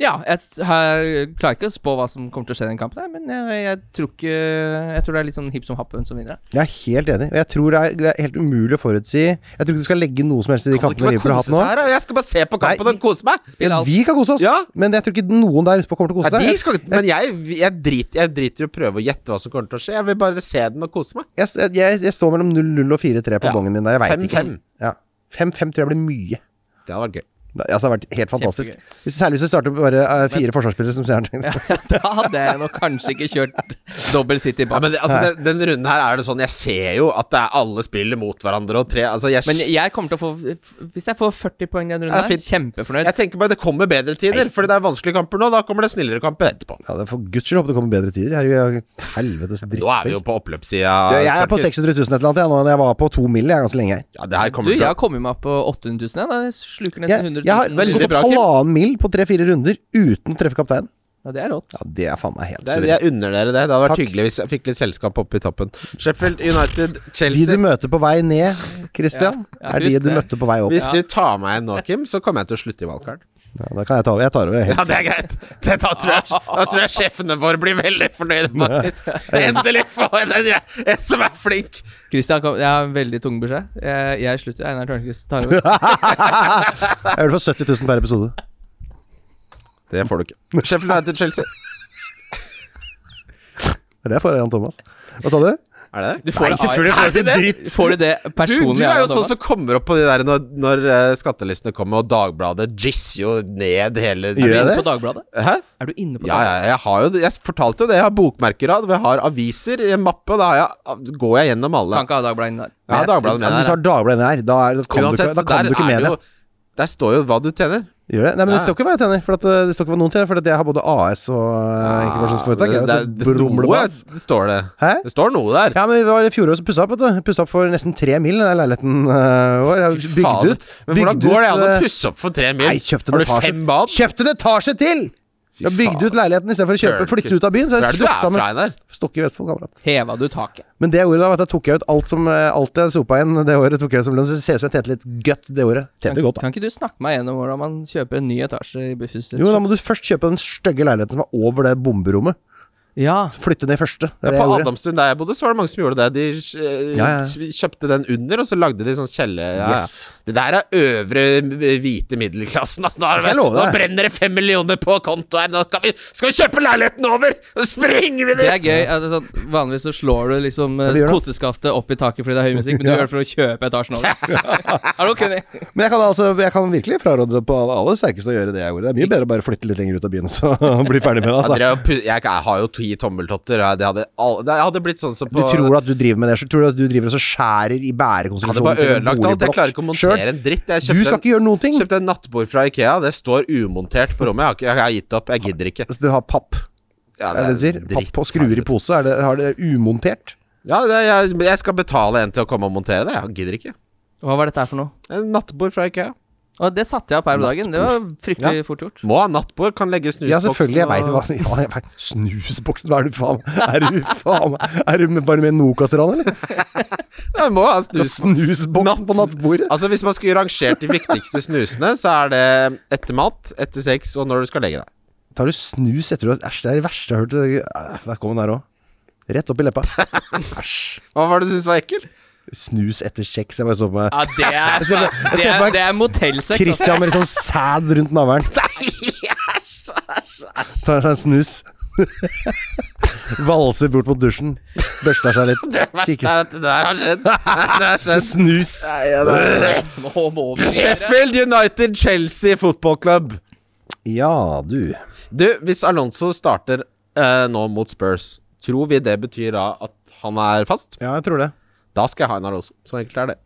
B: Ja, jeg t- her klarer ikke å spå hva som kommer til å skje i den kampen, her, men jeg, jeg tror ikke Jeg tror det er litt sånn hipp som happen som vinner.
C: Jeg er helt enig. Og jeg tror det er, det er helt umulig å forutsi Jeg tror ikke du skal legge noe som helst i de
D: Kan du ikke
C: kampene
D: bare
C: Liverpool har hatt
D: kose
C: nå.
D: seg her? da? Jeg skal bare se på kampen
C: Nei,
D: og kose meg.
C: Ja,
B: alt.
C: vi kan kose oss,
D: Ja.
C: men jeg tror ikke noen der ute kommer til å
D: Nei,
C: kose
D: de
C: seg.
D: skal, ikke- men jeg, jeg, driter, jeg driter i å prøve å gjette hva som kommer til å skje. Jeg vil bare se den og kose meg.
C: Jeg, jeg, jeg, jeg står mellom 0-0 og 4-3 på
D: Ja.
C: bongen min der. Jeg veit ikke.
D: 5-5.
C: Ja. 5-5 tror jeg blir mye.
D: Det hadde vært gøy.
C: Det, altså, det har vært helt fantastisk. Hvis, særlig hvis det starter med bare eh, fire forsvarsspillere som stjerner.
B: Da hadde jeg nok kanskje ikke kjørt dobbel City
D: Ja,
B: bak.
D: men det, altså, den, den runden her er det sånn Jeg ser jo at det er alle spiller mot hverandre og tre altså, jeg,
B: Men jeg kommer til å få Hvis jeg får 40 poeng i den runden
D: Ja,
B: her,
D: fint.
B: kjempefornøyd.
D: jeg tenker bare det kommer bedre tider, Fordi det er vanskelige kamper nå. Da kommer det snillere kamper etterpå.
C: Ja, det er for guds skyld håper det kommer bedre tider. Herregud, helvetes
D: Nå er vi
C: drittspill.
D: jo på oppløpssida.
C: Du, Jeg er på
D: Tørkes.
C: 600 000 et eller annet, jeg, nå enn jeg var på 2 mill. Jeg er ganske lenge her.
D: Ja, det her
B: Du,
D: kommer
B: jeg
D: til
B: har
D: å
B: kommet meg opp på 800 000 igjen. da. Jeg sluker nesten
C: Jeg,
B: 100
C: jeg har
B: 000.
D: veldig
C: gått opp
D: bra, Kim.
C: halvannen mil på tre-fire runder uten å treffe kapteinen.
B: Ja, det er rått.
C: Ja, det er faen meg helt
D: det, er-
C: solid.
D: Jeg unner dere det. Det hadde vært
C: Takk.
D: hyggelig hvis jeg fikk litt selskap oppe i toppen. Sheffield United,
C: De
D: Chelsea
C: du møter på vei ned, Christian,
B: Ja, ja,
C: er de
B: husk
C: du
B: det.
C: møtte på vei opp.
D: Hvis du tar meg igjen nå, Kim, så kommer jeg til å slutte i valgkart.
C: Ja, da kan jeg ta over. Jeg tar over. helt.
D: Ja, det er greit. Det, da, tror jeg, da tror jeg sjefene våre blir veldig fornøyde, faktisk. Endelig får jeg den jeg, jeg som er flink.
B: Christian, kom, jeg har en veldig tung beskjed. Jeg, jeg slutter. Einar Tørnquist tar over.
C: Jeg gjør det for 70 000 per episode.
D: Det får du ikke. Sheffield United Chelsea.
C: Det er det jeg får av Jan Thomas. Hva sa du?
D: Er det det?
B: Du får
D: Nei,
B: det-
D: selvfølgelig får du ikke dritt.
B: Får du det
D: Du,
B: personlig?
D: du er
B: Jan
D: jo sånn
B: Thomas?
D: som kommer opp på de der når, når eh, skattelistene kommer, og Dagbladet jizzer jo ned hele
B: Er du
C: Gjør jeg det?
B: inne på Dagbladet?
D: Hæ?
B: Er du inne på
D: Ja, ja,
B: Dagbladet?
D: jeg har jo det. Jeg fortalte jo det. Jeg har bokmerkerad, hvor jeg har aviser i en mappe, og da har jeg, går jeg gjennom alle.
B: Kan ikke ha Dagbladet inne der.
D: Jeg har Dagbladet med
C: Altså, hvis du
D: der.
C: har Dagbladet her, da, er, da kan du ikke, da
D: så
C: kan
D: der
C: du ikke
D: er
C: med det.
D: jo- Der står jo hva du tjener.
C: Gjør det? Nei, men det
D: Ja.
C: står ikke hva jeg tjener. For at eh, det står ikke hva noen tjener, for at jeg har både AS og eh, enkeltpersonsforetak.
D: Ja,
C: Jeg
D: det,
C: vet
D: det,
C: jo,
D: noe,
C: brumlebass.
D: det står det.
C: Hæ?
D: Det står noe der.
C: Ja, men det var i fjoråret som pussa opp, vet du. Pussa opp for nesten tre mil, den der leiligheten eh, vår. Jeg
D: Fy faen.
C: Bygde ut.
D: Men hvordan
C: bygde
D: går det an å
C: ut, eh,
D: pusse opp for tre mil?
C: Nei, kjøpte en
D: har du
C: etasje.
D: fem bad?
C: Kjøpte en etasje til!
D: Fy
C: Jeg bygde ut
D: faen.
C: leiligheten istedenfor å kjøpe, flytte ut av byen. Så
D: Hvor er
C: jeg
D: det du
C: slått
D: er
C: sammen
D: fra, Einar?
C: Stokke i Vestfold, kamerat.
B: Heva du taket?
C: Men det jeg gjorde da, var at jeg tok jeg ut alt som eh, Alt jeg sopa inn det året, tok jeg ut som lønn. Så det ser ut som jeg tjente litt godt det året. Tjente godt, da.
B: Kan ikke du snakke meg gjennom hvordan man kjøper en ny etasje i Buffhuset?
C: Jo, da må du først kjøpe den stygge leiligheten som er over det bomberommet.
B: Ja.
C: Så Flytte ned første. Det
D: Ja,
C: er det
D: på
C: jeg gjorde.
D: Adamstuen der jeg bodde, så var det mange som gjorde det. De eh,
C: Ja, ja, ja.
D: s- kjøpte den under, og så lagde de sånn kjelle... Ja. ja.
C: Yes.
D: Det der er øvre eh, hvite middelklassen. Altså, nå, er
C: Skal jeg
D: det-
C: love
D: nå
C: deg?
D: brenner det fem millioner på konto her. Nå skal vi, skal vi kjøpe leiligheten over! Så springer vi
B: Det
D: dit!
B: er gøy. Altså, sånn, vanligvis så slår du liksom eh,
C: Ja, det gjør det.
B: koseskaftet opp i taket fordi det er høy musikk, men du gjør det for å kjøpe etasjen over. Hallo, Kenny.
C: Men jeg kan, altså, jeg kan virkelig fraråde det på alle aller sterkeste å gjøre det jeg gjorde. Det er mye bedre å bare flytte litt lenger ut av byen og så bli ferdig med det.
D: Ja,
C: Altså.
D: dere har jo pu- jeg, jeg har jo ti tommeltotter. og jeg- Det hadde, all- det hadde blitt sånn som
C: Du
D: på
C: tror at du driver med det, så tror du at du driver og så skjærer i
D: Jeg hadde bare
C: bærekonstruksjonen til en
D: ødelagt alt. Jeg klarer
C: boligblokk
D: ikke å montere
C: sjøl.
D: en dritt. Jeg
C: Du skal
D: kjøpte,
C: ikke gjøre noen ting.
D: en, kjøpte en nattbord fra Ikea. Det står umontert på rommet. Jeg har, ikke, jeg har gitt opp. Jeg gidder ikke.
C: Altså, Du har papp,
D: Ja,
C: er det det du sier?
D: dritt,
C: Papp og skruer i
D: helvete.
C: pose, er det, har det umontert?
D: Ja, det, jeg, jeg skal betale en til å komme og montere det. Jeg gidder ikke.
B: Hva var dette her for noe?
D: En nattbord fra Ikea.
B: Og det satte jeg opp her om dagen. Det var fryktelig fort gjort.
D: Må ha nattbord. Kan legge snusboksen
C: Ja, selvfølgelig. Jeg veit
D: og-
C: hva ja, jeg vet. Snusboksen, hva er du faen Er du faen Er du bare med Nokas-ran, eller?
D: Ja, må ha
C: Du har
D: snus.
C: snusboksen på
D: Natt-
C: nattbordet?
D: Altså Hvis man skulle rangert de viktigste snusene, så er det etter mat, etter sex og når du skal legge deg.
C: Tar du snus etter du har Æsj, det er det verste jeg har hørt. Æ, Der kom den der òg. Rett opp i leppa. Æsj.
D: Hva var det du syntes var ekkel?
C: Snus etter kjeks. Jeg bare så på meg
B: Ja, det er,
C: Jeg ser på- jeg
B: Ah, det
C: ser på
B: er,
C: meg
B: det er motellsex. altså.
C: Christian med litt sånn sæd rundt navlen. Tar seg en snus. Valser bort mot dusjen. Børster seg litt.
D: Det
C: Kikker.
D: er at det der har skjedd. Det har skjedd.
C: Snus.
B: Nå må vi
D: Sheffield United Chelsea Football Club.
C: Ja, du.
D: Du, hvis Alonso starter eh, nå mot Spurs, tror vi det betyr da at han er fast?
C: Ja, jeg tror det.
D: Da skal jeg ha en Alonso. Så enkelt er det.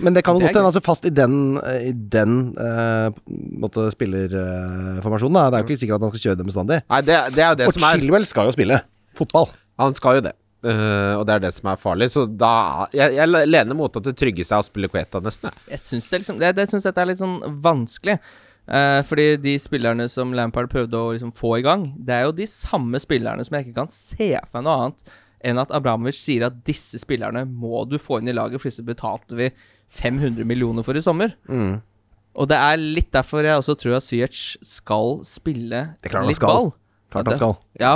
C: Men det kan jo
B: Det er
C: godt hende altså fast i den, eh, i den eh, på en måte spillerformasjonen. da. det er jo ikke sikkert at han skal kjøre det bestandig.
D: Nei, det, det er jo det
C: Og
D: som er
C: Chilwell skal jo spille fotball.
D: Han skal jo det. Eh, og det er det som er farlig. Så da Jeg, jeg lener mot at det tryggeste er å spille Queta, nesten. jeg.
B: Jeg syns det liksom, det, det synes dette er litt sånn vanskelig. Eh, fordi de spillerne som Lampard prøvde å liksom få i gang, det er jo de samme spillerne som jeg ikke kan se for meg noe annet enn at Abramovic sier at disse spillerne må du få inn i laget, for disse betalte vi 500 millioner for i sommer. Og det er litt derfor jeg også tror at Syech skal spille
C: Det er klart han
B: litt
C: skal.
B: ball.
C: Klart han skal.
B: Ja,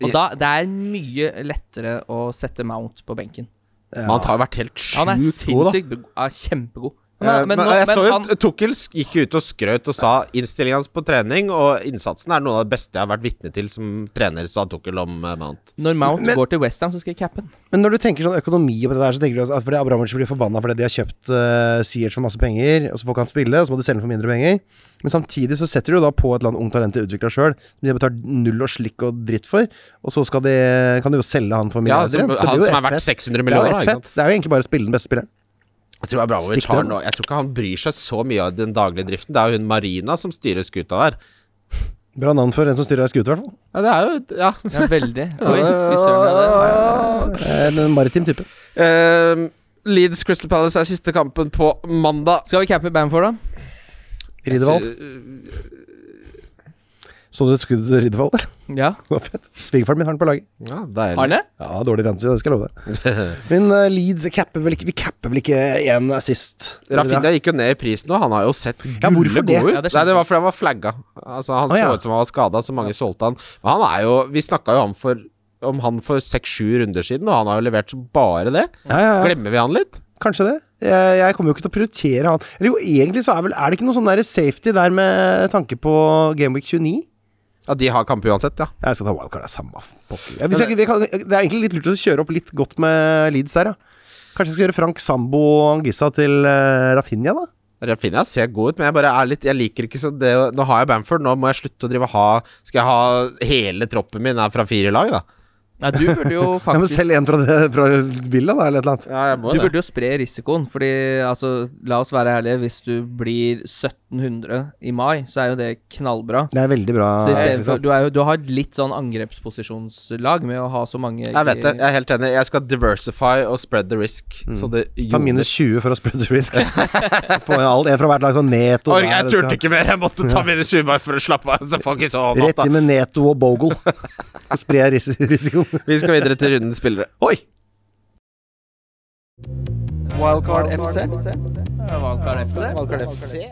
B: og da, det er mye lettere å sette Mount på benken.
D: Men han har jo vært helt sjukt
B: Han er
D: god, da.
B: sinnssykt ja, kjempegod. Han
D: Eh,
B: er-
D: men,
B: nå-
D: jeg så jo
B: han-
D: Tukkel sk- gikk jo ut og skrøt og sa innstillingen hans på trening og innsatsen er noe av det beste jeg har vært vitne til som trener, sa Tukkel om eh, Mount.
B: Når Mount
C: Men-
B: går til Westham, så skal jeg cappe den.
C: Men når du tenker sånn økonomi på det der, så tenker du altså at fordi Abramovic blir forbanna fordi de har kjøpt uh, Sierch for masse penger, og så får ikke han spille, og så må de selge for mindre penger. Men samtidig så setter du jo da på et eller annet ungt talent de utvikla sjøl, som de har betalt null og slikk og dritt for, og så skal de, kan de jo selge han for
D: Ja,
C: milliarder. Så
D: som,
C: det blir
D: han
C: jo
D: som
C: ett
D: er verdt
C: fett. Det
D: 600
C: er jo
D: millioner.
C: ett
D: da, ikke sant?
C: fett. Det er jo egentlig bare å spille den beste spilleren.
D: Jeg tror Abramovic
C: Stikk
D: har
C: den.
D: noe Jeg tror ikke han bryr seg så mye av den daglige driften. Det er jo hun Marina som styrer skuta der.
C: Bra navn for en som styrer ei skute, i hvert fall.
D: Ja, det er jo Ja.
B: Ja, veldig. Oi, fy søren. ja, det er-
C: Eh, En maritim type. Ehm,
D: Eh, Leeds Crystal Palace er siste kampen på mandag.
B: Skal vi cappe Bamford, da?
C: Riddervald.
D: Altså, øh,
C: Så du et skudd til Riddervald? der?
B: Ja.
C: Det var fett. Svigerfaren min har den på laget.
D: Ja, deilig.
B: Arne?
C: Ja, dårlig fancy, det skal jeg love deg. Men eh, Leeds capper vel ikke Vi capper vel ikke én assist?
D: Rafinha gikk jo ned i pris nå. Han har jo sett
C: Ja, hvorfor
D: gulle
C: det?
D: god ut.
B: Ja, det skjønner
D: Nei, det var fordi han var flagga. Altså, han
C: Å, ja.
D: så ut som han var skada, så mange solgte han. Men han er jo Vi snakka jo om, for, om han for seks-sju runder siden, og han har jo levert som bare det.
C: Ja, ja, ja.
D: Glemmer vi han litt?
C: Kanskje det. Jeg, jeg kommer jo ikke til å prioritere han. Eller jo, egentlig så er, vel, er det ikke noe sånn der safety der med tanke på Gameweek 29?
D: Ja, de har kamp uansett, ja.
C: Jeg skal ta wildcard, det er samme pokker. Ja, hvis jeg, ikke- det, kan, det er egentlig litt lurt å kjøre opp litt godt med Leeds der, ja. Kanskje jeg skal gjøre Frank Sambo og Angissa til eh, Rafinha, da?
D: Rafinha ser god ut, men jeg bare er litt Jeg liker ikke så det Nå har jeg Bamford, nå må jeg slutte å drive og ha Skal jeg ha hele troppen min er fra fire lag, da?
B: Nei, du burde jo
C: Ja, men
B: faktisk
C: selv en fra, det- fra Villa, da, eller et eller annet?
D: Ja, jeg må
B: Du burde jo spre risikoen, fordi altså, la oss være ærlige, hvis du blir 1700 i mai, så er jo det knallbra.
C: Det er veldig bra.
B: Så i stedet for,
C: Kristian.
B: du, er jo, du har et litt sånn angrepsposisjonslag med å ha så mange
D: Jeg vet det, jeg er helt enig. Jeg skal diversify og spread the risk. Så det
C: Mm. Ta minus 20 for å spread the risk. Få en alt- en fra hvert lag sånn Neto
D: Org,
C: der,
D: jeg
C: det
D: turte
C: skal-
D: ikke mer. Jeg måtte ta minus 20 bare for å slappe av. Så folk ikke så
C: Rett inn
D: natta.
C: med Neto og Bogle. Spre ris risikoen.
D: Vi skal videre til runden spillere.
C: Oi!
A: Wildcard FC.
B: Valgkar FC.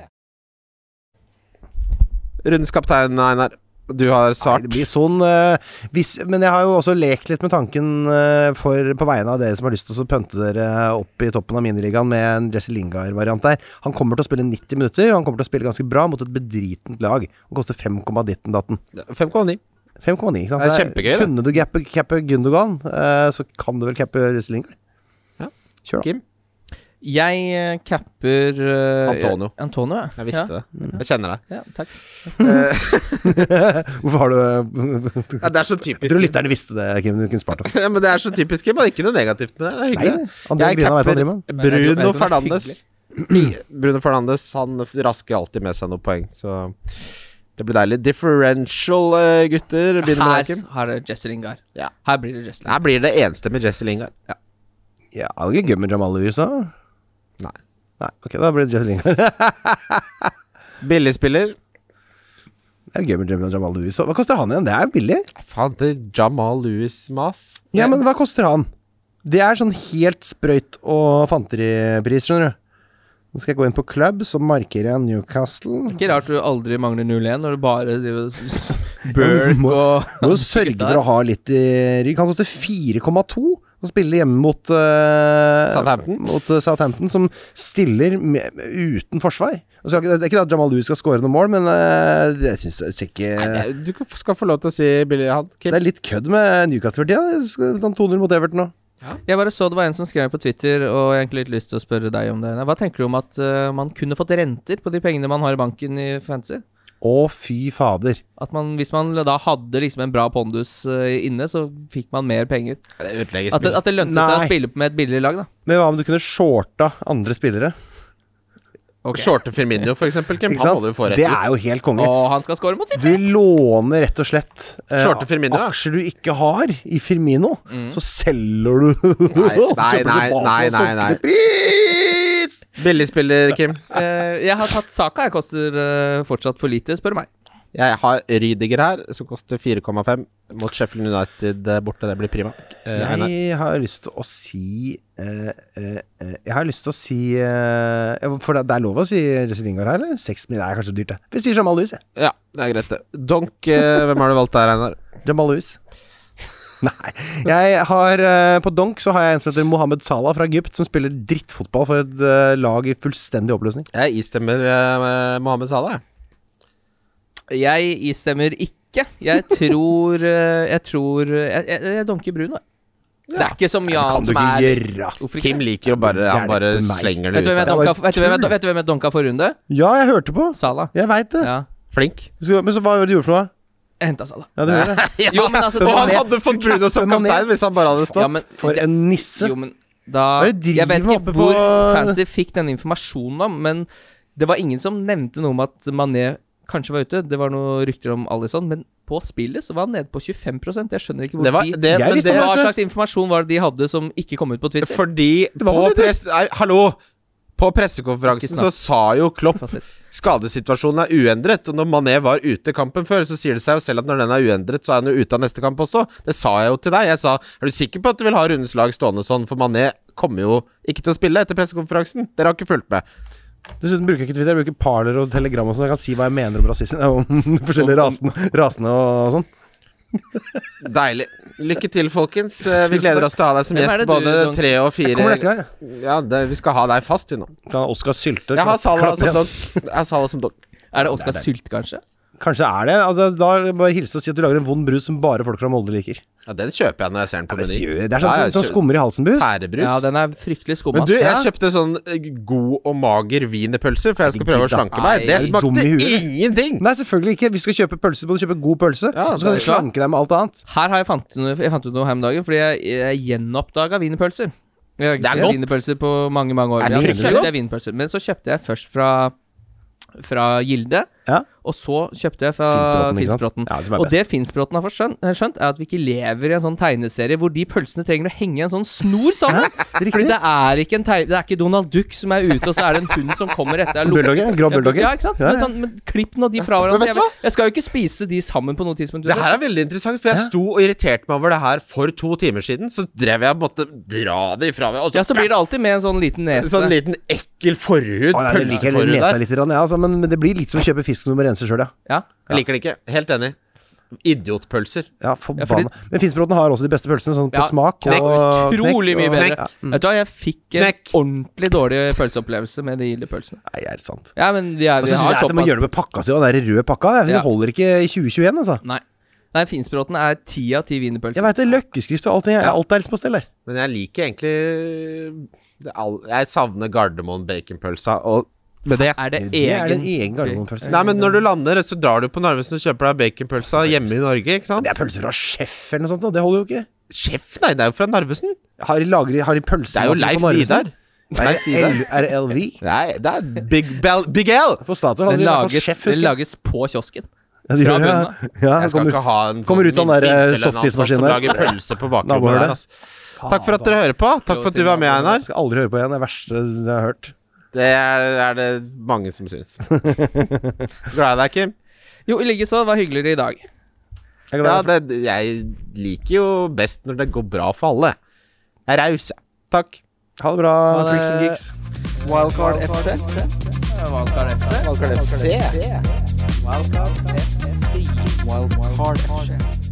D: Rundens kaptein, Einar. Du har
C: Nei,
D: Sart.
C: det blir sånn eh, hvis, Men jeg har jo også lekt litt med tanken eh, for, på vegne av dere som har lyst til å pønte dere opp i toppen av miniligaen med en Jesse Lingard-variant der. Han kommer til å spille 90 minutter, og han kommer til å spille ganske bra mot et bedritent lag. Han koster 5,ditten-datten.
D: 5,9.
C: 5,9, ikke sant?
D: Det er kjempegøy, det.
C: Kunne du cappe, cappe Gundogan, eh, så kan du vel cappe Jesse Lingard.
D: Ja.
C: Kjør, da.
D: Kim?
B: Jeg eh, capper eh,
D: Antonio.
B: Antonio, ja.
D: Jeg visste
C: Mm.
D: det. Jeg kjenner deg.
B: Ja, ja, takk.
C: Hvorfor har du
D: Ja, det er så
C: Jeg
D: typisk
C: tror
D: Kim.
C: lytterne visste det, Kim. Du kunne spart oss.
D: Ja, men det er så typisk Kim. og Ikke noe negativt med det. Det er
C: Nei,
D: hyggelig.
C: André
D: Jeg
C: Grina vet hva han
D: capper
C: driver
B: Men
C: med.
B: jeg tror- jeg tror
D: Bruno
B: det er
D: Fernandes. Bruno Fernandes han rasker alltid med seg noen poeng, så det blir deilig. Differential, eh, gutter. Begynner med deg,
B: Her,
D: Kim.
B: her er Jesse Lingard.
D: Ja.
B: Her blir det Jesse Lingard.
D: Her blir det enstemmig Jesse Lingard.
C: Ja, det var ikke gøy med Jamal Lewis, da?
D: Nei.
C: Nei, ok, da blir det Jeff Lingard.
D: Billig spiller.
C: Det er gøy med Jamal- Jamal Lewis. Hva koster han igjen? Det er billig.
D: Faen, det er Jamal Lewis-mas.
C: Ja, men hva koster han? Det er sånn helt sprøyt og fanteripris, skjønner du. Nå skal jeg gå inn på club, så markerer jeg Newcastle.
B: Ikke rart du aldri mangler 0-1 når du bare driver og s- s- Burke og
C: Må jo sørge for å ha litt i rygg. Han koster 4,2 og spiller hjemme mot eh,
D: Southampton.
C: Mot eh, Southampton, som stiller med, uten forsvar. Og så, er det det er ikke det at Jamal Lewis skal score noen mål, men eh, det syns jeg ser ikke
D: Nei, det- Eh, Du skal få lov til å si billig han. Kim.
C: Det er litt kødd med Newcastle for tida. Skal ta en 200 sånn mot Everton nå.
B: Jeg bare så det var en som skrev på Twitter, og jeg har egentlig litt lyst til å spørre deg om det. Hva tenker du om at eh, man kunne fått renter på de pengene man har i banken i fantasy?
C: Å, fy fader.
B: At man, hvis man da hadde liksom en bra pondus eh, inne, så fikk man mer penger.
D: Det
B: At det,
D: ødelegger spillet.
B: at det lønte seg
C: Nei.
B: å spille med et billig lag, da.
C: Men hva om du kunne shorta andre spillere?
B: Ok.
D: Shorte Firmino, for eksempel. Kim.
C: Ikke
D: Han
C: sant?
D: må du jo få rett
C: det
D: ut.
C: er jo helt konge.
B: Og han skal score mot sitt!
C: Du låner rett og slett eh,
D: Shorte Firmino, ja. Mm.
C: aksjer du ikke har i Firmino. Så selger du og kjøper
D: nei, nei,
C: tilbake
D: nei,
C: og
D: nei, nei.
C: sunker til Pris!
D: Billig spiller, Kim.
B: Eh, jeg har tatt saka. Jeg koster eh, fortsatt for lite, spør du meg.
D: Jeg har Rydiger her, som koster 4,5 mot Sheffield United eh, borte. Det blir prima. Eh, Einar.
C: Jeg har lyst til å si eh, eh, eh, Jeg har lyst til å si eh, ja, For det, det er lov å si Jesse Lingard her, eller? Seks min er kanskje dyrt, det. Vi sier Jamal Lewis, jeg.
D: Ja, det er greit, det. Donk, eh, hvem har du valgt der, Einar?
C: Jamal Lewis. Nei. Jeg har eh, På Donk så har jeg en som heter Mohammed Salah fra Egypt, som spiller drittfotball for et eh, lag i fullstendig oppløsning.
D: Jeg istemmer eh, Mohammed Salah. jeg.
B: Jeg istemmer ikke. Jeg tror eh, Jeg tror Jeg, jeg, jeg dunker Bruno, jeg. Det er ikke så mye
C: Kan
B: annet
C: du
B: som
C: ikke
B: er
C: gjøre?
B: Hvorfor ikke?
D: Kim liker å bare Han bare
C: Hjelpe meg.
D: slenger det
B: Vet du hvem
D: ut.
B: jeg
D: der.
C: Det
B: dunka,
C: var
B: vet
C: jo
B: du hvem jeg,
C: tull.
B: vet du hvem jeg dunka forrige runde?
C: Ja, jeg hørte på.
B: Sala.
C: Jeg veit det.
B: Ja.
D: Flink.
C: Så- Men så hva var det du gjorde for noe?
B: Henta Sala.
C: Ja, det hører jeg.
B: Jo, men altså
D: Og
B: det-
D: han hadde fått Bruno som
C: Mané.
D: kaptein hvis han bare hadde
B: ja,
D: stått.
B: men,
C: For
B: det-
C: en nisse.
B: Jo, men da
C: Hva er det de
B: Jeg vet
C: driver
B: ikke
C: oppe
B: hvor
C: på-
B: fancy fikk denne informasjonen om, men det var ingen som nevnte noe om at Mané kanskje var ute. Det var noen rykter om Alison, men på spillet så var han nede på 25 Jeg skjønner ikke hvor
D: Det var,
B: de
D: det,
C: Jeg
D: men
C: visste
D: det,
C: om
B: Hva slags informasjon var det de hadde som ikke kom ut på Twitter?
D: Fordi
C: var
D: på
C: på Twitter.
D: press... Nei, hallo! På
B: Ikke
D: pressekonferansen så
B: snakk.
D: sa jo Klopp
B: Fattig.
D: skadesituasjonen er uendret. Og når Mané var ute kampen før, så sier det seg jo selv at når den er uendret, så er han jo ute av neste kamp også. Det sa jeg jo til deg. Jeg sa er du sikker på at du vil ha Runes lag stående sånn, for Mané kommer jo ikke til å spille etter pressekonferansen. Dere har ikke fulgt med.
C: Dessuten bruker jeg ikke Twitter, jeg bruker parler og telegram og sånn. Jeg kan si hva jeg mener om rasisme om de forskjellige rasene, rasene og sånn.
D: Deilig. Lykke til, folkens. Eh, Vi gleder oss til å ha deg som
B: Hvem er
D: gjest
B: det du,
D: både
B: Don?
D: tre og fire
C: Jeg kommer neste gang, jeg.
D: Ja, det, vi skal ha deg fast, vi nå.
C: Kan Oskar Sylte
D: Jeg har
C: klappe-
D: Salah
C: klappe
D: som
C: igjen?
D: donk. Jeg har Salah som donk.
B: Er det Oskar Sylt, kanskje?
C: Kanskje er det. Altså, da bare hilse og si at du lager en vond brus som bare folk fra Molde liker.
D: Ja, den kjøper jeg når jeg ser den på
C: Det,
D: menyen.
C: sier jo- det er sånn,
D: Ja,
C: sånn,
D: jeg
C: sånn
D: kjøper-
C: skummer i halsen-brus.
D: Pærebrus.
B: Ja, den er fryktelig skumma.
D: Men du, jeg
B: Ja.
D: kjøpte sånn eh, god og mager wienerpølse, for jeg skal prøve å
C: Gidda.
D: slanke meg.
B: Nei,
D: Det
C: er du dum
D: smakte
C: i huet?
D: ingenting!
C: Nei, selvfølgelig ikke. Vi skal kjøpe pølse, må du kjøpe god pølse.
D: Ja,
C: så kan du
D: det er klart.
C: slanke deg med alt annet.
B: Her har jeg fant, ut- jeg fant ut noe her om dagen, fordi jeg, jeg gjenoppdaga wienerpølser. Jeg har ikke
D: Det er
B: spist
D: godt.
B: wienerpølser på mange mange år.
D: Er det
B: men jeg
D: fryktelig
B: kjøpte
D: godt?
B: jeg wienerpølser. Men så kjøpte jeg først fra, fra Gilde,
C: Ja.
B: og så kjøpte jeg fra
C: Finnsbråten, ikke sant?
B: Finnsbråten.
C: Ja, det som er
B: og
C: best.
B: det Finnsbråten har fått skjønt, eh, skjønt, er at vi ikke lever i en sånn tegneserie hvor de pølsene trenger å henge i en sånn snor sammen. Fordi det er ikke en teg- Det er ikke Donald Duck som er ute, og så er det en hund som kommer etter. Jeg lukker-
C: Bulldogger, grå
B: Ja,
C: bulldogger.
B: Ja, ikke sant?
C: Ja,
B: Men,
C: ja.
B: sånn, men klipp nå de fra
D: Men
B: hverandre.
D: vet
B: Jeg,
D: du hva?
B: vet- jeg skal jo ikke spise de sammen på noe tidspunkt.
D: Det her er veldig interessant, for jeg
C: Ja.
D: sto og irriterte meg over det her for to timer siden. Så drev jeg og måtte dra det ifra meg. Og
B: Ja, så blir det alltid med en sånn liten nese.
D: Sånn liten ekkel forhud.
C: Å, nei, det liker jeg
D: Pølseforhud
C: nesa
D: der.
C: litt, grann, ja, altså, men, men det blir litt som å kjøpe fisk som du må rense sjøl, ja.
B: ja.
D: Jeg liker det ikke. Helt enig. Idiotpølser.
C: Ja, forbanna.
B: fordi-
C: Men Finnsbråten har også de beste pølsene, sånn på
B: Ja,
C: smak
B: det er
C: og
B: Utrolig
C: knekk Mm.
B: mye
C: og-
B: bedre.
D: knekk.
B: Vet du hva, jeg fikk en
D: Knekk.
B: ordentlig dårlig pølseopplevelse med de gildepølsene.
C: Nei, er det sant.
B: Ja, men de er,
C: Og
B: vi
C: så syns
B: har
C: jeg at de må
B: såpass
C: gjøre det med pakka si, og den der røde pakka. Jeg synes
B: Ja.
C: Det holder ikke i 2021, altså.
B: Nei. Nei, Finnsbråten er ti av ti
C: Jeg
B: wienerpølser.
C: veit det. Løkkeskrift og allting. Ja. Alt er liksom på stell der.
D: Men jeg liker egentlig det all... Jeg savner Gardermoen baconpølsa, og med det
B: Er det
C: Det er
B: egen
C: den egen Gardermoen-pølsen.
D: Nei, men når du lander, så drar du på Narvesen og kjøper deg baconpølsa hjemme i Norge, ikke sant?
C: Det er pølser fra Chef eller noe sånt, og det holder jo ikke.
D: Sjef, nei, det er jo fra Narvesen.
C: Har de, lager, har de pølser
D: Det er jo
C: på
D: Leif
C: Narvesen?
D: Vidar.
C: Er det L- er det LV?
D: Nei, det er Big Bell Big L!
C: På Statoil
B: Den
C: hadde de i hvert fall
B: lages,
C: Chef,
B: den
C: husker jeg.
B: lages på kiosken.
C: Ja, de
B: Fra
C: gjør det, ja. Ja,
D: Jeg skal
C: kommer-
D: ikke ha en sånn
C: kommer ut av den der,
D: minstelønn
C: softismaskinen
D: ansatt som
C: der.
D: lager pølse på bakgrunnen
C: Nabohølet.
D: der. ass. Takk for at dere hører på. Takk for at du var med, Einar.
C: skal aldri høre på igjen. Det er det verste jeg har hørt.
D: Det er, er det mange som syns. Glad i deg, Kim.
B: Jo, i likeså. Det var hyggeligere i dag.
C: Jeg er
D: Ja,
C: glad i deg.
D: det, jeg liker jo best når det går bra for alle. Jeg er raus, jeg. Takk.
C: Ha det bra,
B: Ha det.
C: freaks and geeks.
A: Wildcard FC.
B: Valgkart FC.
A: Wildcard FC.